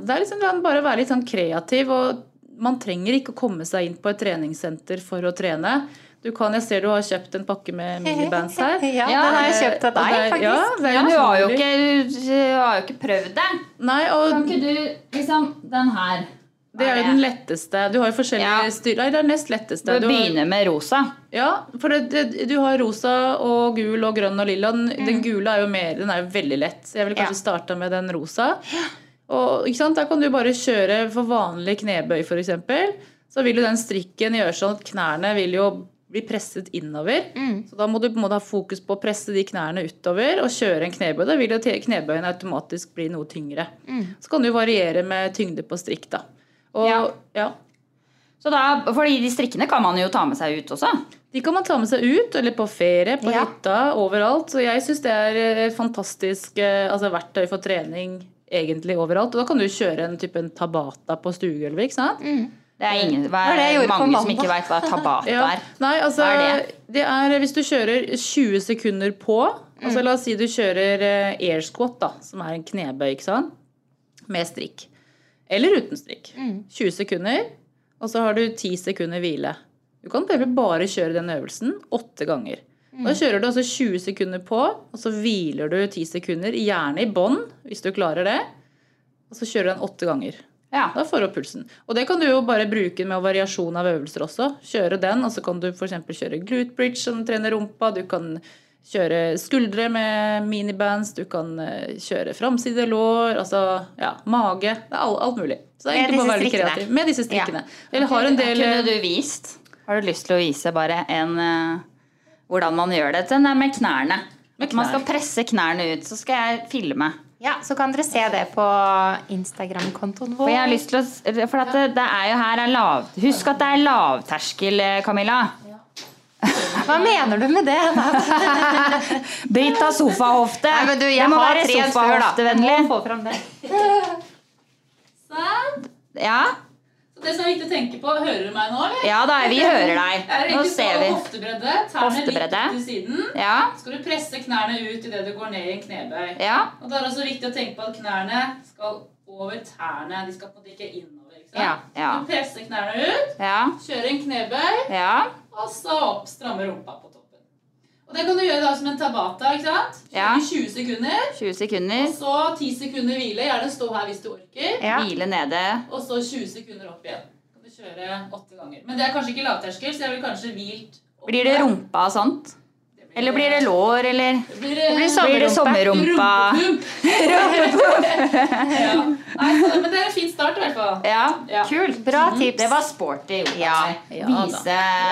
D: det er liksom det er bare å være litt sånn kreativ. og man trenger ikke å komme seg inn på et treningssenter for å trene. Du kan, Jeg ser du har kjøpt en pakke med minibands her.
C: Ja, den har jeg kjøpt av
D: Og
C: deg,
D: det er- ja,
C: faktisk.
D: det er
B: Ja, du har jo
D: utrolig.
B: ikke, du har jo ikke prøvd det.
D: Nei, og
B: Kan ikke du liksom Den her.
D: Det er jo den letteste. Du har jo forskjellige
B: Ja.
D: styr... Nei, det er nest letteste.
B: Du
D: Du har-
B: begynner med rosa.
D: Ja, for det, det, du har rosa og gul og grønn og lilla. Den, den gule er jo mer, den er jo veldig lett. Så jeg ville kanskje starta med den rosa. Og ikke sant, Da kan du bare kjøre for vanlig knebøy, f.eks. Så vil jo den strikken gjøre sånn at knærne vil jo bli presset innover. Så da må du på en måte ha fokus på å presse de knærne utover og kjøre en knebøy. Da vil jo te- knebøyen automatisk bli noe tyngre. Så kan du variere med tyngde på strikk, da. Og,
B: Ja.
D: ja.
B: Så da, fordi de strikkene kan man jo ta med seg ut også.
D: De kan man ta med seg ut, eller på ferie, på
C: Ja.
D: hytta, overalt. Så jeg syns det er eh, et fantastisk eh, altså, verktøy for trening egentlig overalt. Og da kan du kjøre en type en tabata på stuegulvet, ikke sant?
B: Det er ingen, hva,
C: var det jeg gjorde på
B: mange som
C: mandag.
B: ikke veit hva tabata
D: Ja.
B: er.
D: Nei, altså,
B: Hva er
D: det? er hvis du kjører 20 sekunder på
B: Mm.
D: altså La oss si du kjører eh, air squat, da, som er en knebøy, ikke sant? Med strikk. Eller uten strikk.
B: Mm.
D: 20 sekunder, og så har du 10 sekunder hvile. Du kan bare, bare kjøre den øvelsen åtte ganger.
B: Mm.
D: Da kjører du altså 20 sekunder på, og så hviler du 10 sekunder, gjerne i bånd, hvis du klarer det. Og så kjører du den åtte ganger.
B: Ja.
D: Da får du opp pulsen. Og det kan du jo bare bruke med variasjon av øvelser også. Kjøre den, og så kan du f.eks. kjøre glute bridge som trener rumpa. Du kan kjøre skuldre med minibands. Du kan eh, kjøre framside lår, altså ja, mage. Det er alt, alt mulig. Så det er
C: Med
D: egentlig bare å
C: disse
D: være litt
C: strikkene.
D: kreativ. Med disse strikkene. Eller har en del eh,
B: Kunne du vist?
C: Har
B: Har du lyst til å vise bare en eh, hvordan man gjør det? Den er med knærne. At Man skal presse knærne ut, så skal jeg filme.
C: Ja, Så kan dere se det på Instagram-kontoen vår.
B: For, jeg har lyst til å, s- for at det, det er jo her er lav... Husk at det er lavterskel, eh, Camilla.
C: Hva mener du med det?
B: Bryt av sofahofte.
C: Nei, men du, jeg
B: det må
C: har
B: være
C: tre før, da. Jeg må
B: sofahoftevennlig.
C: få fram det.
D: Sant?
B: Ja,
D: Sånn. Så det som er viktig å tenke på, hører du meg nå, eller?
B: ja da, vi hører deg.
D: Jeg
B: Nå
D: rekker
B: ser vi.
D: Hoftebredde. Tærne litt
B: Hoftebredde.
D: til siden.
B: Ja,
D: Skal du presse knærne ut idet du går ned i en knebøy.
B: ja.
D: Og da er det også viktig å tenke på at knærne skal over tærne. De skal på en måte ikke innover. ikke sant?
B: Ja, ja.
D: Du presser knærne ut,
B: Ja,
D: kjører en knebøy,
B: ja.
D: og så opp, stramme rumpa på toppen. Og det kan du gjøre da som en tabata. ikke sant?
B: Ja.
D: Kjøre i 20 sekunder,
B: 20 sekunder.
D: og så 10 sekunder hvile. Gjerne stå her hvis du orker.
C: Ja.
B: Hvile nede.
D: Og så 20 sekunder opp igjen. Kan du kjøre åtte ganger. Men det er kanskje ikke lavterskel, så jeg vil kanskje hvilt opp.
B: Blir det rumpa og sånt? Eller blir det lår, eller
D: Det blir, det
C: blir
B: blir det sommerrumpa?
D: Rumpepump. ja. Nei, så, men det er en fin start i hvert fall.
B: Ja. Mhm.
D: Ja.
C: Kult. Bra tips.
B: Det var sporty. Jonas.
C: Ja,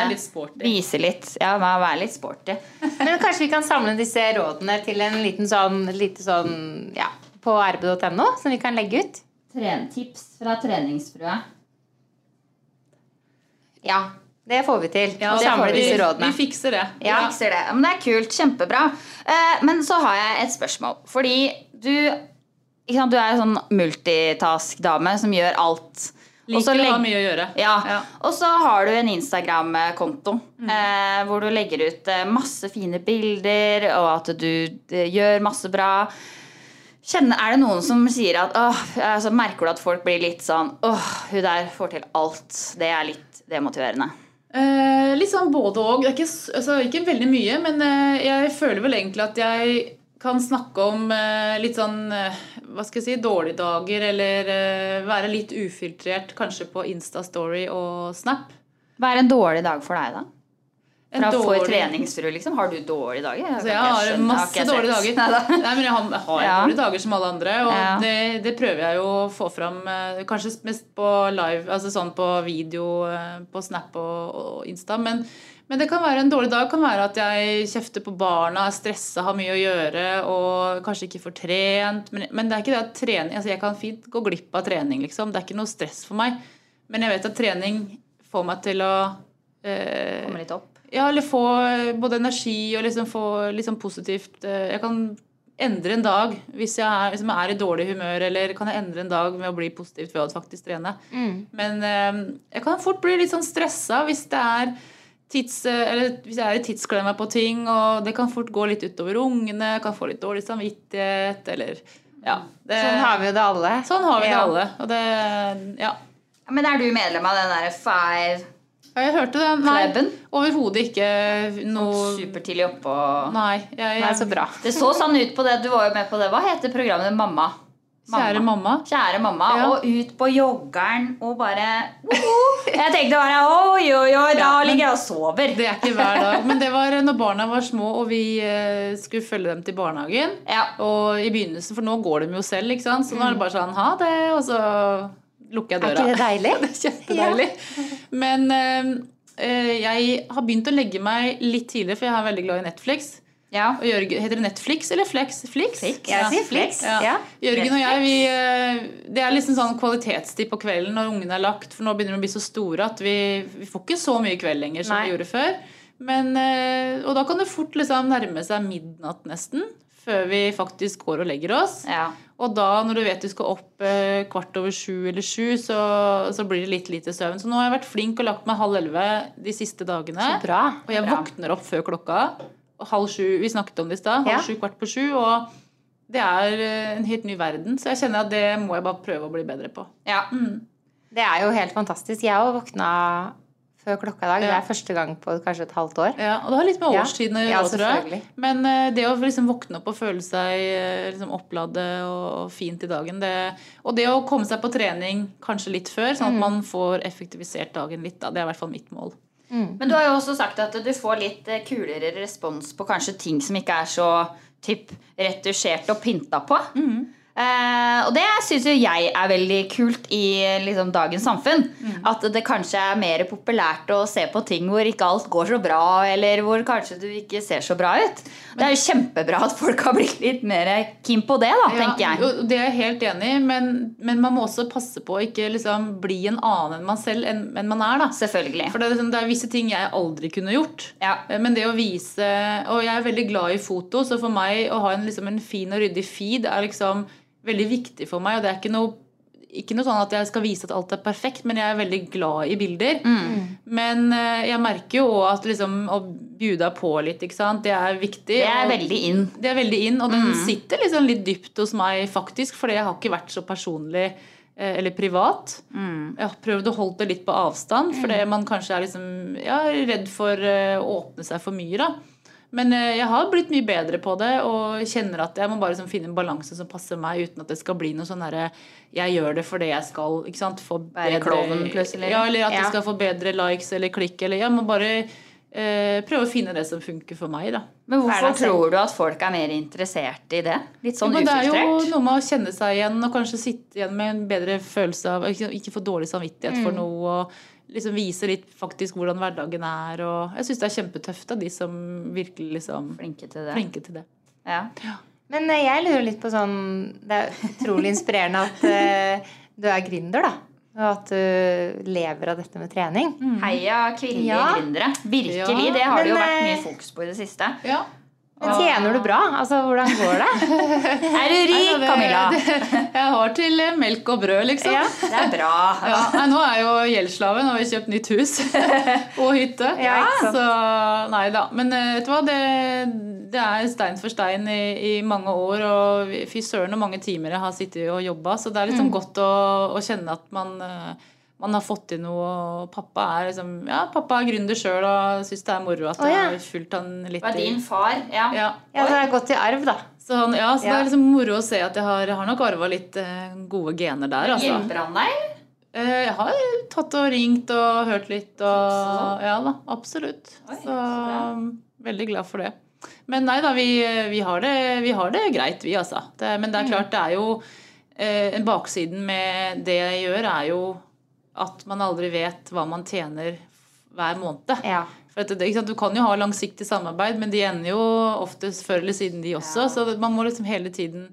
B: vise,
D: sporty.
B: vise litt. Ja, vær vær litt sporty.
C: Men kanskje vi kan samle disse rådene til en liten sånn, lite sånn ja, på rb.no, som vi kan legge ut?
B: Tips fra treningsfrua.
C: Ja. Det får vi til. å
D: det
C: samle
D: får vi.
C: disse rådene.
D: Vi fikser det.
B: Ja.
C: Ja.
B: Fikser det. Men det er kult. Kjempebra. Eh, men så har jeg et spørsmål. Fordi du ikke sant, Du er en sånn multitask-dame som gjør alt. Og så
D: Liker å ha
B: legg-
D: mye å gjøre.
B: Ja.
D: Ja. Mm.
B: Og så har du en Instagram-konto eh, hvor du legger ut eh, masse fine bilder, og at du eh, gjør masse bra. Kjenner, er det noen som sier at åh, altså, Merker du at folk blir litt sånn Åh, hun der får til alt. Det er litt demotiverende.
D: Eh, litt sånn både og. Det er Ikke, s- altså, ikke veldig mye, men eh, jeg føler vel egentlig at jeg kan snakke om eh, litt sånn eh, hva skal jeg si, dårlige dager, eller eh, være litt ufiltrert kanskje på Insta-story og Snap.
B: Hva er en dårlig dag for deg, da?
D: En
B: Fra for
D: dårlig-
B: treningsfru, liksom. Har du dårlige dager? Jeg
D: Altså,
B: kan
D: jeg
B: ikke
D: har
B: skjønne,
D: masse
B: ikke jeg
D: dårlige
B: sett.
D: dager.
B: Neida.
D: Nei, men jeg har, jeg har
B: Ja.
D: dårlige dager som alle andre, og
B: Ja.
D: det, det prøver jeg jo å få fram eh, kanskje mest på live, altså sånn på video, eh, på Snap og, og Insta. Men, men det kan være en dårlig dag. kan være at jeg kjefter på barna, er stressa, har mye å gjøre og kanskje ikke får trent. Men, men det er ikke det at trening altså Jeg kan fint gå glipp av trening, liksom. Det er ikke noe stress for meg. Men jeg vet at trening får meg til å eh,
B: Kommer litt opp.
D: ja, eller få eh, både energi og liksom få litt sånn positivt eh, Jeg kan endre en dag hvis jeg er, liksom er i dårlig humør, eller kan jeg endre en dag med å bli positivt ved å faktisk trene.
C: Mm.
D: Men eh, jeg kan fort bli litt sånn stressa hvis det er tids, eh, eller hvis jeg er i tidsklemma på ting, og det kan fort gå litt utover ungene, kan få litt dårlig samvittighet, eller Ja. Det,
C: Sånn har vi jo det alle.
D: sånn har vi det
C: Ja.
D: alle. Og det Ja.
B: Ja, Men er du medlem av den derre five
D: Ja, Jeg hørte den. Nei,
B: Kleben?
D: overhodet ikke noe
B: supertidlig oppe og
D: Nei. Jeg, jeg,
C: Nei, så bra.
B: Det så sånn ut på det. Du var jo med på det. Hva heter programmet? Mamma.
D: Kjære mamma.
B: Kjære mamma.
D: Ja.
B: Og ut på joggeren og bare woho. Jeg tenkte bare oi, oi, oi, da
D: Ja, men-
B: ligger jeg og sover.
D: Det er ikke hver dag. Men det var når barna var små og vi eh, skulle følge dem til barnehagen.
B: Ja.
D: Og i begynnelsen, for nå går de jo selv, ikke sant? så nå er det bare sånn ha det, og så lukker jeg
C: Er
D: døra.
C: ikke det deilig?
D: det er kjempedeilig. Men eh, eh, jeg har begynt å legge meg litt tidligere, for jeg er veldig glad i Netflix.
B: Ja.
D: Og Jørgen, heter det Netflix eller Flex? Flix?
B: Flix.
C: Jeg sier Flix.
D: Ja.
C: Ja.
D: Jørgen og jeg, vi, eh, det er liksom sånn kvalitetstid på kvelden når ungene er lagt, for nå begynner de å bli så store at vi, vi får ikke så mye kveld lenger som
C: Nei.
D: vi gjorde før. Men, eh, og da kan det fort liksom nærme seg midnatt nesten, før vi faktisk går og legger oss.
B: ja.
D: Og da, når du vet du skal opp eh, kvart over sju eller sju, så, så blir det litt lite søvn. Så nå har jeg vært flink og lagt meg halv elleve de siste dagene.
C: Så bra.
D: Og jeg våkner opp før klokka. og Halv sju, Vi snakket om det i stad.
C: Ja.
D: Halv sju, kvart på sju. Og det er eh, en helt ny verden, så jeg kjenner at det må jeg bare prøve å bli bedre på.
B: ja.
C: Mm. Det er jo helt fantastisk. Jeg har våkna før klokka i dag. Det
D: Ja.
C: er første gang på kanskje et halvt år.
D: Ja, og det har litt med
C: Ja.
D: årstiden å
C: Ja,
D: gjøre, tror jeg.
C: selvfølgelig.
D: Men eh, det å liksom våkne opp og føle seg eh, liksom oppladet og, og fint i dagen det, Og det å komme seg på trening kanskje litt før,
C: Mm.
D: sånn at man får effektivisert dagen litt, da. Det er i hvert fall mitt mål.
B: Men du har jo også sagt at du får litt eh, kulere
D: Mm.
B: respons på kanskje ting som ikke er så typ retusjert og pynta på. Eh, og det syns jo jeg er veldig kult i eh, liksom, dagens samfunn.
D: Mm.
B: At det kanskje er mer populært å se på ting hvor ikke alt går så bra, eller hvor kanskje du ikke ser så bra ut. Det er jo kjempebra at folk har blitt litt mer keen på det, da, tenker jeg.
D: og Det er jeg helt enig i, men, men man må også passe på å ikke liksom bli en annen enn man selv enn, enn man er. da.
B: Selvfølgelig.
D: For det er, liksom, det er visse ting jeg aldri kunne gjort.
B: Ja.
D: Eh, Men det å vise Og jeg er veldig glad i foto, så for meg å ha en, liksom, en fin og ryddig feed er liksom veldig viktig for meg. Og det er ikke noe, ikke noe sånn at jeg skal vise at alt er perfekt, men jeg er veldig glad i bilder.
B: Mm.
D: Men eh, jeg merker jo også at liksom, å bjuda på litt, ikke sant, det er viktig.
B: Det er
D: og-
B: veldig Mm. in.
D: det er veldig inn, og den sitter liksom litt dypt hos meg, faktisk. Fordi jeg har ikke vært så personlig eh, eller privat. Jeg har prøvd å holde det litt på avstand,
B: Mm.
D: fordi man kanskje er liksom, ja, redd for eh, å åpne seg for mye. da. Men eh, jeg har blitt mye bedre på det og kjenner at jeg må bare liksom finne en balanse som passer meg, uten at det skal bli noe sånn herre Jeg gjør det fordi jeg skal ikke sant, få
B: Være
D: bedre
B: klovn plutselig.
D: Ja, eller at
B: Ja.
D: jeg skal få bedre likes eller klikk, eller Jeg må bare eh, prøve å finne det som funker for meg, da.
B: Men hvorfor
C: Hverdagslig.
B: tror du at folk er mer interessert i det? Litt sånn
D: Men det er jo
B: ufiltrert?
D: noe med å kjenne seg igjen og kanskje sitte igjen med en bedre følelse av Ikke, ikke få dårlig samvittighet
B: Mm.
D: for noe. og liksom Vise litt faktisk hvordan hverdagen er. og Jeg syns det er kjempetøft av de som virkelig liksom
B: Flinke til det.
D: flinke til det.
B: Ja.
C: Men eh, jeg lurer litt på sånn Det er utrolig inspirerende at eh, du er gründer, da. Og at du lever av dette med trening.
D: Mm.
B: Heia kvinnelige
C: Ja.
B: gründere. Virkelig.
D: Ja,
B: Det har det jo
C: men,
B: vært mye
C: eh,
B: fokus på i det siste.
D: Ja.
C: Men tjener du bra? Altså, hvordan går det?
B: Er du rik, Camilla?
D: Jeg har til eh, melk og brød, liksom. Ja.
B: Det er bra.
D: nei, nå er jeg jo gjeldsslave. Nå har vi kjøpt nytt hus og hytte.
C: Ja, ikke sant.
D: så nei da. Men eh, vet du hva, det, det er stein for stein i, i mange år. Og vi- fy søren hvor mange timer jeg har sittet og jobba. Så det
C: Mm.
D: er liksom godt å, å kjenne at man, eh, man har fått til noe. Og pappa er liksom Ja, pappa er gründer sjøl og syns det er moro at
C: Å,
D: jeg
C: ja.
D: har fulgt han
B: Det
D: litt
B: var din far. Ja.
D: Ja.
C: Ja, det har gått i arv, da.
D: Så, han, ja, så det
C: Ja.
D: er liksom moro å se at jeg har, jeg har nok arva litt eh, gode gener der. Altså.
B: Hjelper han deg?
D: Eh, Jeg har tatt og ringt og hørt litt. Og, ja da, absolutt.
B: sånn. Oi, så
D: så
B: bra.
D: um, veldig glad for det. Men nei da, vi, vi, har, det, vi har det greit, vi altså. Det, men
B: Mm.
D: det er klart, det er jo eh, Baksiden med det jeg gjør, er jo at man aldri vet hva man tjener hver måned.
C: Ja.
D: For at det, ikke sant? Du kan jo ha langsiktig samarbeid, men de ender jo oftest før eller siden, de også. Så det- man må liksom hele tiden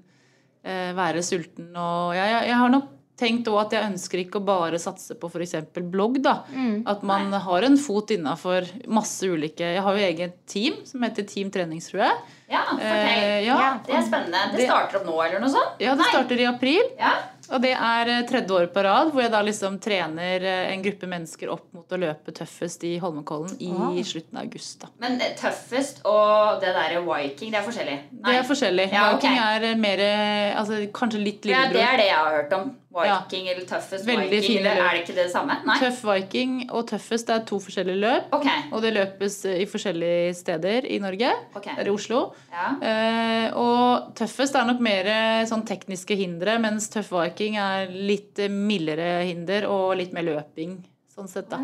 D: eh, være sulten. Og jeg, jeg, jeg har nok tenkt også at jeg ønsker ikke å bare satse på f.eks. blogg. da.
B: Mm.
D: At man har en fot innafor masse ulike Jeg har jo eget team som heter Team Treningsfrue.
B: Ja, fortell.
D: Eh, ja.
B: Det er spennende. Det
D: Det-
B: starter opp nå, eller noe sånt?
D: ja, det
B: Nei.
D: starter i april.
B: Ja.
D: Og det er eh, tredje år på rad hvor jeg da liksom trener eh, en gruppe mennesker opp mot å løpe tøffest i Holmenkollen i slutten av august. da.
B: Men eh, tøffest og det derre viking, det er forskjellig? Nei.
D: Det er forskjellig.
B: Ja, ok.
D: Viking er eh, mer eh, altså, Kanskje litt
B: Ja,
D: lillebror.
B: det er det jeg har hørt om. Viking eller tøffest
D: Veldig
B: viking.
D: fine
B: Eller,
D: løp.
B: er det ikke det samme? Nei?
D: Tøff Viking og tøffest er to forskjellige løp.
B: Ok.
D: Og det løpes eh, i forskjellige steder i Norge.
B: Ok.
D: Eller i Oslo.
B: Ja.
D: Eh, og tøffest er nok mer eh, sånn tekniske hindre, mens tøff viking er litt eh, mildere hinder og litt mer løping. Sånn sett, da.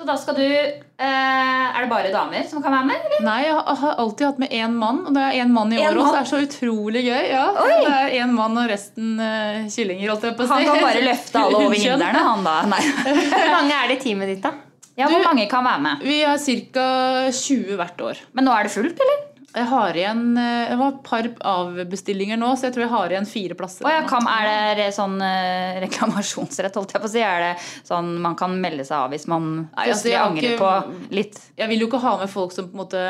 B: Så da skal du eh, Er det bare damer som kan være med? Eller?
D: Nei, jeg har- har alltid hatt med én mann, og det er én mann i
B: En
D: år også. Det
B: mann?
D: er så utrolig gøy. Ja. Så Det er én mann og resten eh, kyllinger, holdt jeg på å si.
B: Han kan bare løfte alle over
D: Hundkjønn.
B: hindrene, han da. Nei.
C: Hvor mange er det i teamet ditt, da?
B: Ja, Hvor mange kan være med?
D: Vi har ca. 20 hvert år.
B: Men nå er det fullt, eller?
D: Jeg har igjen eh, Det var et par avbestillinger nå, så jeg tror jeg har igjen fire plasser.
B: Å ja, kan, er det re- sånn eh, reklamasjonsrett, holdt jeg på å si? Er det sånn man kan melde seg av hvis man
D: altså,
B: plutselig
D: jeg har
B: angrer
D: ikke-
B: på litt?
D: Jeg vil jo ikke ha med folk som på en måte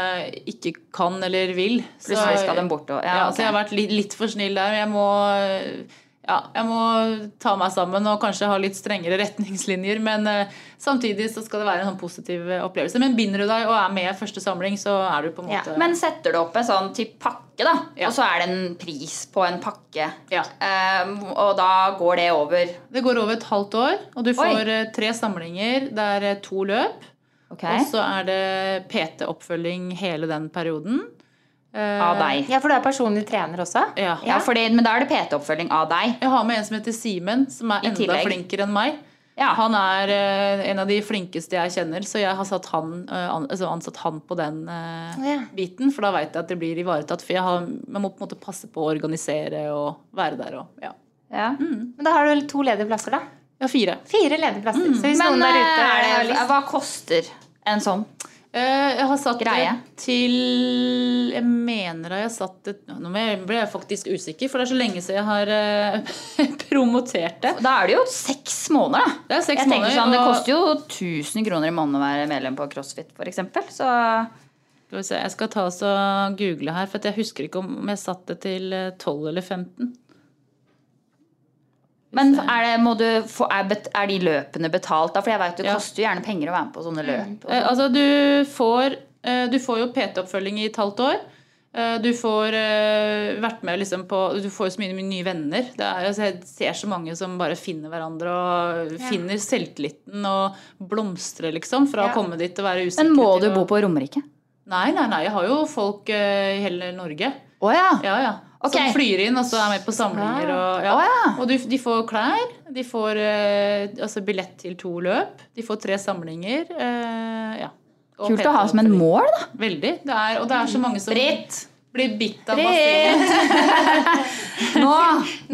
D: ikke kan eller vil. Så-
B: Plutselig skal de bort og
D: Ja,
B: ja,
D: Så jeg har
B: ok.
D: vært litt, litt for snill der. men Jeg må, ja, jeg må ta meg sammen og kanskje ha litt strengere retningslinjer. Men eh, samtidig så skal det være en sånn positiv eh, opplevelse. Men binder du deg og er med i første samling, så er du på en
C: Ja,
D: måte
B: Men setter du opp en sånn type pakke, da,
D: Ja.
B: og så er det en pris på en pakke,
D: Ja.
B: Eh, og da går det over
D: Det går over et halvt år, og du
B: Oi.
D: får eh, tre samlinger. Det er eh, to løp.
B: Ok.
D: Og så er det PT-oppfølging hele den perioden.
B: av deg?
C: Ja, for du er personlig trener også?
D: Ja.
B: Ja, fordi, men da er det PT-oppfølging av deg.
D: Jeg har med en som heter Simen, som er
B: I
D: enda
B: tillegg.
D: flinkere enn meg. Han er eh, en av de flinkeste jeg kjenner, så jeg har satt han, eh, an, altså ansatt han på den eh,
C: Ja.
D: biten. For da veit jeg at det blir ivaretatt. For jeg har, man må på en måte passe på å organisere og være der og ja.
C: Ja. Men da har du vel to ledige plasser, da.
D: Jeg har fire.
C: Fire ledige plasser. Så hvis
B: Men
C: noen der ute
B: eh,
C: har
B: er det,
C: lyst
B: hva koster en sånn?
D: Eh, Jeg har satt
B: Greie.
D: det til Jeg mener at jeg har satt det Nå ble jeg- ble jeg faktisk usikker, for det er så lenge siden jeg har eh, promotert det.
B: Da er det jo seks måneder, da.
D: Det er seks
B: Jeg tenker
D: måneder.
B: sånn, Det
D: og-
B: koster jo 1000 kroner i måneden å være medlem på CrossFit, f.eks. Så
D: Skal vi se, jeg skal ta oss og google her, for at jeg husker ikke om jeg satt det til eh, 12 eller 15.
B: Men er, det, må du få, er, bet, er de løpene betalt, da? For jeg vet det
D: Ja.
B: koster jo gjerne penger å være med på sånne løp.
D: Eh, Altså, du får, eh, du får jo PT-oppfølging i et halvt år. Eh, Du får eh, vært med liksom på Du får jo så mye nye venner. Det er, altså, jeg ser så mange som bare finner hverandre og finner selvtilliten og blomstrer, liksom, fra
C: Ja.
D: å komme dit og være usikker.
B: Men må
D: til
B: du
D: å-
B: bo på Romerike?
D: Nei, nei, nei. Jeg har jo folk eh, i hele Norge.
B: Å ja.
D: Ja, ja.
B: Ok. Ah.
D: Som flyr inn og så er med på samlinger. Og, ja.
B: Å, ja.
D: og du, de får klær, de får eh, altså billett til to løp, de får tre samlinger. Eh, ja. Og
B: Kult å ha som en
D: PT-oppfølging.
B: mål, da.
D: Veldig. Det er, og det er så mange som
B: Britt!
D: blir bitt av basillen.
B: Nå,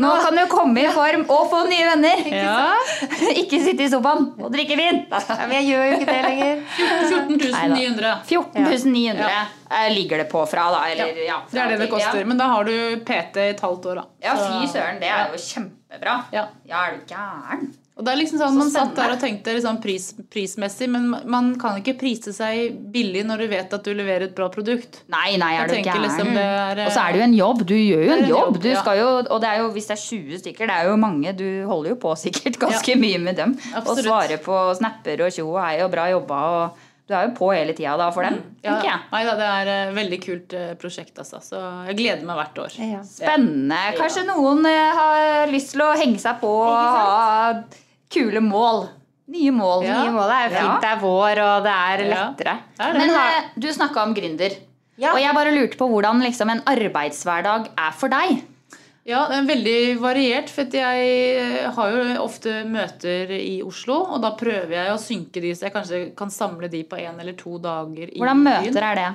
B: nå kan du komme i form og få nye venner!
D: Ja.
B: Ikke sitte i sofaen og drikke vin!
C: Ja, men jeg gjør jo ikke det lenger.
D: 14 900.
B: 14 900 eh, ligger det på fra, da. Eller, ja.
D: Det er det det koster. Men da har du PT i et halvt år, da.
B: Ja,
D: Så-
B: fy søren, det er jo kjempebra.
D: Ja.
B: Ja, er du gæren?
D: Og det er liksom sånn, Man satt
B: spennende.
D: der og tenkte liksom pris, prismessig, men man kan ikke prise seg billig når du vet at du leverer et bra produkt.
B: Nei, nei, er
D: Jeg
B: du
D: tenker
B: gæren?
D: liksom det er, eh,
B: og så er det jo en jobb. Du gjør jo
D: det er
B: en
D: en
B: jobb.
D: jobb,
B: Du
D: ja.
B: skal jo, og det er jo, hvis det er 20 stykker, det er jo mange. Du holder jo på sikkert ganske mye med dem. Og
D: Absolutt.
B: svarer på snapper og tjo og hei og bra jobba. Og du er jo på hele tida da for dem,
D: Mm, Ja,
B: tenker jeg.
D: Nei da, det er et veldig kult eh, prosjekt, altså. Så jeg gleder meg hvert år.
C: Ja.
B: Spennende. Kanskje noen eh, har lyst til å henge seg på og ha kule mål. Nye mål.
D: Ja.
C: Nye målet er jo fint. Det er vår, og det er
D: Ja.
C: lettere.
D: Er det?
B: Men eh, du snakka om gründer.
C: Ja.
B: Og jeg bare lurte på hvordan liksom, en arbeidshverdag er for deg.
D: Ja, det er veldig variert. For at jeg eh, har jo ofte møter i Oslo, og da prøver jeg å synke de, så jeg kanskje kan samle de på én eller to dager i
B: Hvordan
D: byen.
B: møter er det?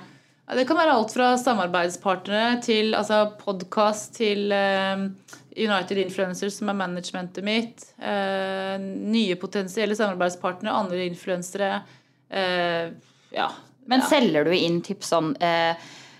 D: Ja, Det kan være alt fra samarbeidspartnere til altså podkast til eh, United Influencers, som er managementet mitt. eh, nye potensielle samarbeidspartnere, andre influensere. eh, ja.
B: Men
D: ja.
B: selger du inn typ sånn eh,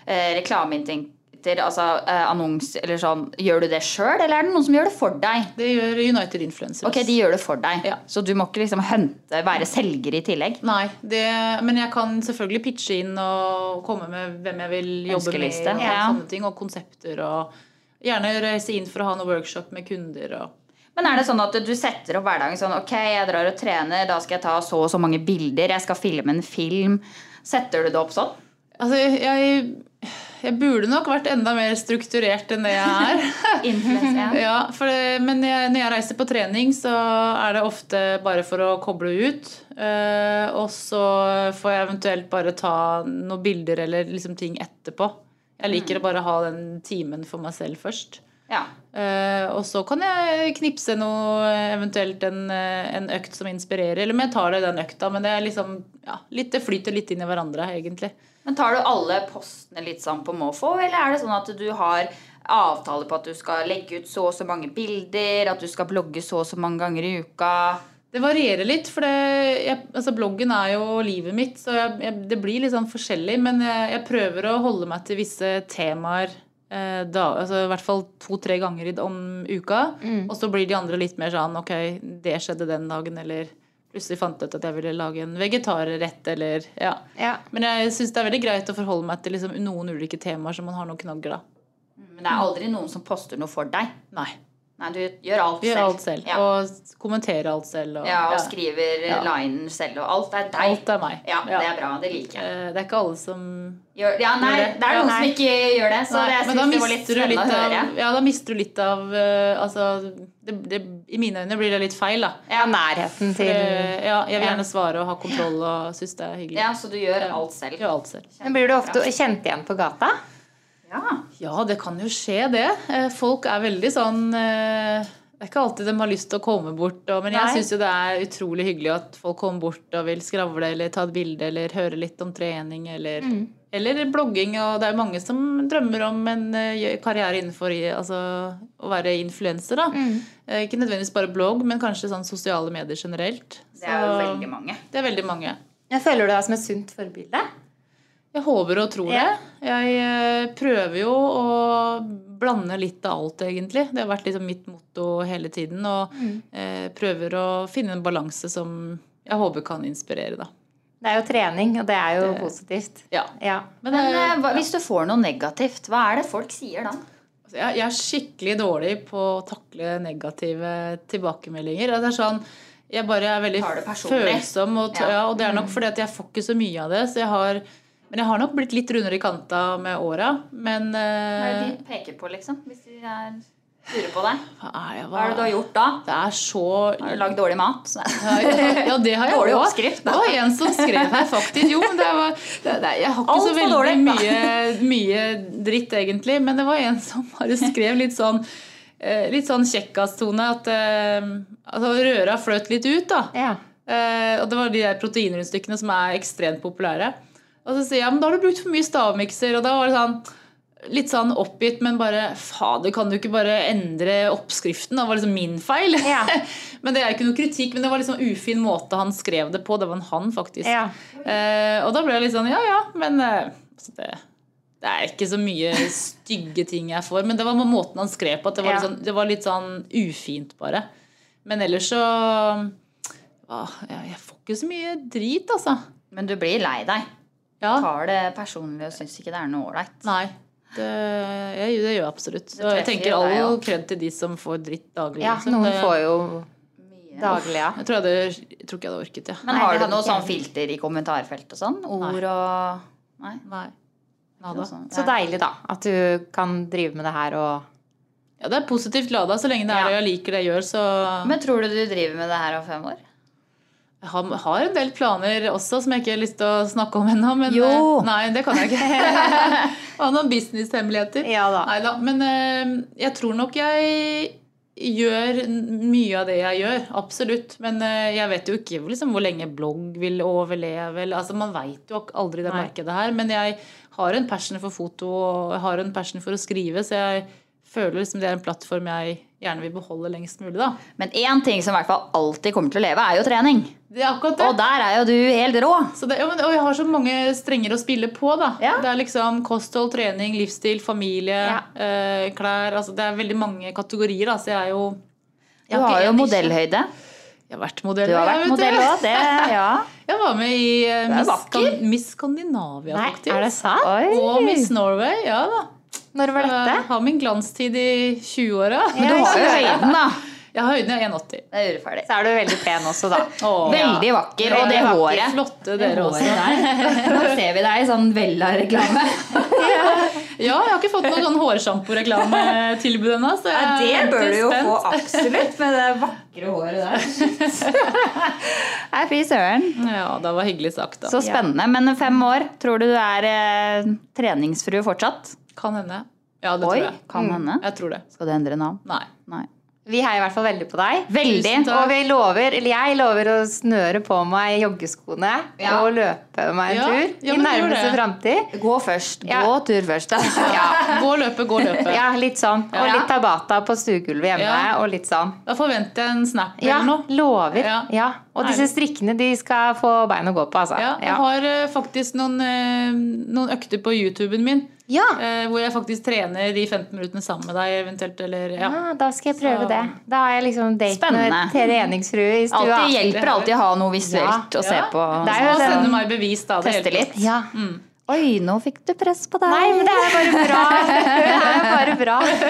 B: eh, reklameinntekter, altså eh, annons eller sånn, gjør du det sjøl, eller er det noen som gjør det for deg?
D: Det gjør United Influencers.
B: Ok, de gjør det for deg,
D: Ja.
B: så du må ikke liksom hente, være selger i tillegg.
D: Nei, det, men jeg kan selvfølgelig pitche inn og komme med hvem jeg vil jobbe med.
B: Ønskeliste,
D: Og
B: ja.
D: sånne ting, og konsepter. Og gjerne reise inn for å ha noe workshop med kunder. Og.
B: Men er det sånn at du setter opp hverdagen sånn Ok, jeg drar og trener, da skal jeg ta så og så mange bilder, jeg skal filme en film. Setter du det opp sånn?
D: Altså, jeg, jeg burde nok vært enda mer strukturert enn det jeg er.
B: Influencer, ja.
D: ja, for det, men jeg, når jeg reiser på trening, så er det ofte bare for å koble ut. Eh, og så får jeg eventuelt bare ta noen bilder eller liksom ting etterpå. Jeg liker å bare ha den timen for meg selv først.
B: ja.
D: Eh, og så kan jeg knipse noe, eventuelt en, eh, en økt som inspirerer. Eller om jeg tar det i den økta, men det er liksom ja, litt, det flyter litt inn i hverandre, egentlig.
B: Men tar du alle postene litt sånn på måfå, eller er det sånn at du har avtale på at du skal legge ut så og så mange bilder, at du skal blogge så og så mange ganger i uka?
D: Det varierer litt, for det, jeg, altså bloggen er jo livet mitt, så jeg, jeg, det blir litt sånn forskjellig. Men jeg, jeg prøver å holde meg til visse temaer. Eh, da, altså I hvert fall to-tre ganger i- om uka.
B: Mm.
D: Og så blir de andre litt mer sånn Ok, det skjedde den dagen, eller plutselig fant jeg ut at jeg ville lage en vegetarrett, eller ja.
C: Ja.
D: Men jeg syns det er veldig greit å forholde meg til liksom, noen ulike temaer som man har noen knagger, da.
B: Men det er aldri noen som poster noe for deg.
D: Nei.
B: Nei, du gjør alt
D: Gjør
B: selv.
D: alt selv.
B: Ja.
D: Og kommentere alt selv. Og,
B: ja, og skriver
D: Ja.
B: linen selv, og alt er deg.
D: Alt er meg.
B: Ja, det
D: Ja.
B: er bra. Det liker jeg.
D: Eh, Det er ikke alle som
B: Gjør, ja, nei,
D: Gjør det.
B: det er
D: Ja,
B: noen som
D: nei.
B: ikke gjør det, så
D: Nei,
B: det
D: men da
B: synes jeg var litt
D: mister du
B: spennende å
D: av,
B: høre.
D: Ja, da mister du litt av eh, Altså, det, det, i mine øyne blir det litt feil, da.
C: Ja, nærheten til
D: Eh, ja, jeg vil
B: Ja.
D: gjerne svare og ha kontroll og synes det er hyggelig.
B: Ja, så du gjør alt selv.
D: Gjør alt selv.
C: Men Blir du ofte kjent igjen på gata?
B: Ja.
D: Ja, det kan jo skje, det. Eh, Folk er veldig sånn eh, Det er ikke alltid de har lyst til å komme bort. Og, men
C: Nei.
D: jeg syns jo det er utrolig hyggelig at folk kommer bort og vil skravle eller ta et bilde eller høre litt om trening eller,
B: Mm.
D: eller blogging. Og det er jo mange som drømmer om en eh, karriere innenfor i- altså, å være influenser. da.
B: Mm.
D: Eh, Ikke nødvendigvis bare blogg, men kanskje sånn sosiale medier generelt.
B: Det er jo
D: Så-
B: veldig mange.
D: Det er veldig mange.
C: Jeg føler du deg som et sunt forbilde.
D: Jeg håper og tror
C: Ja.
D: det. Jeg eh, prøver jo å blande litt av alt, egentlig. Det har vært liksom mitt motto hele tiden. Og
B: Mm.
D: eh, prøver å finne en balanse som jeg håper kan inspirere, da.
C: Det er jo trening, og det er jo positivt.
D: Ja.
C: Ja.
D: Men,
B: Men
D: eh,
B: eh, hva, hvis du får noe negativt, hva er det folk sier da?
D: Altså, Jeg, jeg er skikkelig dårlig på å takle negative tilbakemeldinger. Altså, Det er sånn, jeg bare er veldig
B: Tar det personlig.
D: følsom, og, t-
B: Ja. Mm.
D: ja, og det er nok fordi at jeg får ikke så mye av det. Så jeg har, men jeg har nok blitt litt rundere i kanta med åra. Men
B: Hva er det
D: eh,
B: de peker på, liksom? Hvis de er lurer på deg?
D: hva er jeg-
B: Hva er det
C: Ah.
B: du har gjort da?
D: Det er så
B: Har du lagd dårlig mat?
D: Ja, ja, ja, det har jeg
B: Dårlig
D: også.
B: oppskrift, da.
D: Det var en som skrev her, faktisk. Jo, men det var, det, det, jeg har ikke
B: Alt
D: så
B: for
D: veldig
B: dårlig, da.
D: mye, mye dritt, egentlig. Men det var en som bare skrev litt sånn eh, Litt sånn kjekkastone. At eh, altså, røra fløt litt ut, da.
C: Ja.
D: Eh, og det var de der proteinrundstykkene som er ekstremt populære. Og så sier jeg, men da har du brukt for mye stavmikser. Og da var det sånn litt sånn oppgitt, men bare fader, kan du ikke bare endre oppskriften? Det var liksom min feil.
C: Ja.
D: men det er ikke noe kritikk, men det var liksom ufin måte han skrev det på. Det var en han, faktisk.
C: Ja.
D: Eh, og da ble jeg litt sånn ja ja, men eh, altså det, det er ikke så mye stygge ting jeg får. Men det var med måten han skrev på, at det var,
C: Ja.
D: litt, sånn, det var litt sånn ufint, bare. Men ellers så ah, jeg, jeg får ikke så mye drit, altså.
B: Men du blir lei deg.
C: Ah.
D: Ja.
B: Tar det personlig og syns ikke det er noe ålreit.
D: Nei. Det, jeg, det gjør jeg absolutt.
B: Det
D: Og jeg
B: treffer
D: tenker
B: jo deg,
D: all
B: ja.
D: kred til de som får dritt daglig.
C: ja,
D: liksom.
C: noen
D: Det-
C: får jo
B: Mye.
C: daglig, ja.
D: jeg, tror jeg, hadde, jeg tror ikke jeg hadde orket det.
B: Men
C: Nei,
B: har
C: det
B: du
C: hadde
B: noe
C: ikke jeg.
B: sånn filter i kommentarfelt og sånn? Ord og Nei.
D: Nei.
B: noe
D: Nada.
B: sånt.
C: Så deilig, da. At du kan drive med det her og
D: Ja, det er positivt lada. Så lenge det er
B: Ja.
D: det jeg liker det jeg gjør, så
B: Men tror du du driver med det her om fem år?
D: Jeg har, har en del planer også som jeg ikke har lyst til å snakke om ennå. Men
C: Jo.
D: eh, nei, det kan jeg ikke. Har noen businesshemmeligheter.
C: Ja da.
D: Nei da. Men eh, jeg tror nok jeg gjør n- mye av det jeg gjør. Absolutt. Men eh, jeg vet jo ikke liksom, hvor lenge blogg vil overleve. eller- Altså, man veit jo ak- aldri det
C: Nei.
D: markedet her. Men jeg har en passion for foto og jeg har en passion for å skrive, så jeg føler liksom det er en plattform jeg gjerne vil beholde lengst mulig. da.
B: Men én ting som i hvert fall alltid kommer til å leve, er jo trening.
D: Det er akkurat det.
B: Og der er jo du helt rå.
D: Så det, ja, men, og jeg har så mange strenger å spille på. da.
B: Ja.
D: Det er liksom kosthold, trening, livsstil, familie,
C: Ja.
D: eh, klær altså, Det er veldig mange kategorier. Da, så jeg er jo
B: Du
D: jeg har
B: har
D: ikke
B: jo
D: en nisje.
B: modellhøyde.
D: Jeg har vært modell.
B: Du har
D: jeg,
B: vært
D: vet
B: modell
D: det.
B: òg. Ja.
D: Jeg var med i eh,
B: Du er
D: Miss,
B: vakker.
D: Skan- Miss Skandinavia,
C: Nei,
D: faktisk.
C: er det sant?
D: Og Miss Norway. Ja da.
C: Når var dette?
D: Jeg har min glanstid i 20-åra.
B: Men du har jo høyden, da.
D: Jeg har høyden i 1,80.
B: Det er urettferdig.
C: Så er du veldig pen også, da.
D: Åh,
B: Veldig vakker. Og det
D: Dere er
B: håret.
D: Flotte, dere også.
B: Nå ser vi deg i sånn Vella-reklame.
D: Ja, jeg har ikke fått noen sånn hårsamporeklametilbud ennå. så jeg er
B: det bør
D: litt
B: du jo
D: spent.
B: få absolutt med det vakre håret der. Nei, fy søren.
D: Ja, det var hyggelig sagt, da.
B: Så spennende. Men fem år, tror du du er eh, treningsfrue fortsatt?
D: kan hende. Ja, det
B: Oi,
D: tror jeg.
B: kan hende.
D: Jeg tror det.
B: Skal du endre navn?
D: Nei.
B: Nei.
C: Vi heier i hvert fall veldig på deg.
B: Veldig.
D: Tusen takk.
C: Og vi lover, eller jeg lover å snøre på meg joggeskoene
B: Ja.
C: og løpe meg en
D: Ja,
C: tur
D: ja,
C: i
D: men gjør
C: nærmeste
D: det.
C: framtid.
B: Gå først.
C: Ja.
B: Gå tur først. Ja.
D: Gå og løpe, gå og løpe.
C: Ja, litt sånn. Og
B: Ja.
C: litt Tabata på stuegulvet hjemme.
D: Ja.
C: Og litt sånn.
D: Da forventer jeg en snap
C: Ja,
D: eller noe.
C: lover.
D: Ja.
C: Ja. Og disse
D: Herlig.
C: strikkene de skal få bein å gå på, altså.
D: Ja, jeg
C: Ja.
D: har eh, faktisk noen, eh, noen økter på YouTuben min
C: Ja.
B: Ah.
D: eh, hvor jeg faktisk trener de 15 minuttene sammen med deg eventuelt, eller ja.
C: Ah, da skal jeg prøve
D: Så-
C: det. Da har jeg liksom date med
B: Spennende.
C: treningsfrue i stua.
B: Alltid hjelper alltid å ha noe visuelt å se
D: Ja.
B: på.
C: Det er jo
D: Og
C: det.
D: sende meg bevis, da. det
B: Teste
D: hjelper.
B: sånn litt.
C: Ja.
B: Oi, nå fikk du press på deg.
C: Mm. Nei, men det er bare bra. Det er bare bra.
B: Jeg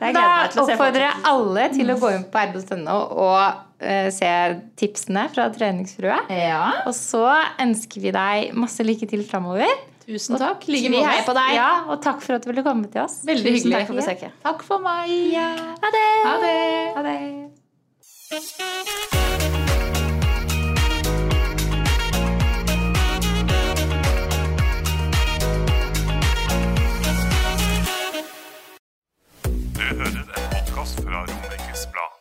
C: Da
B: gleder meg til å se på.
C: oppfordrer jeg alle til å gå inn på rb.no og eh, se tipsene fra treningsfrue.
B: Ja.
C: Og så ønsker vi deg masse lykke til framover.
D: Tusen takk.
B: Vi
D: Like måte.
B: heier på deg.
C: Ja, og takk for at du ville komme til oss.
D: Veldig
B: Tusen
D: hyggelig.
B: takk for besøket.
D: Takk for meg.
C: Ha det!
D: Ha det.
C: Ha det.
A: Du hører en podkast fra Romerike. Dagens Blad.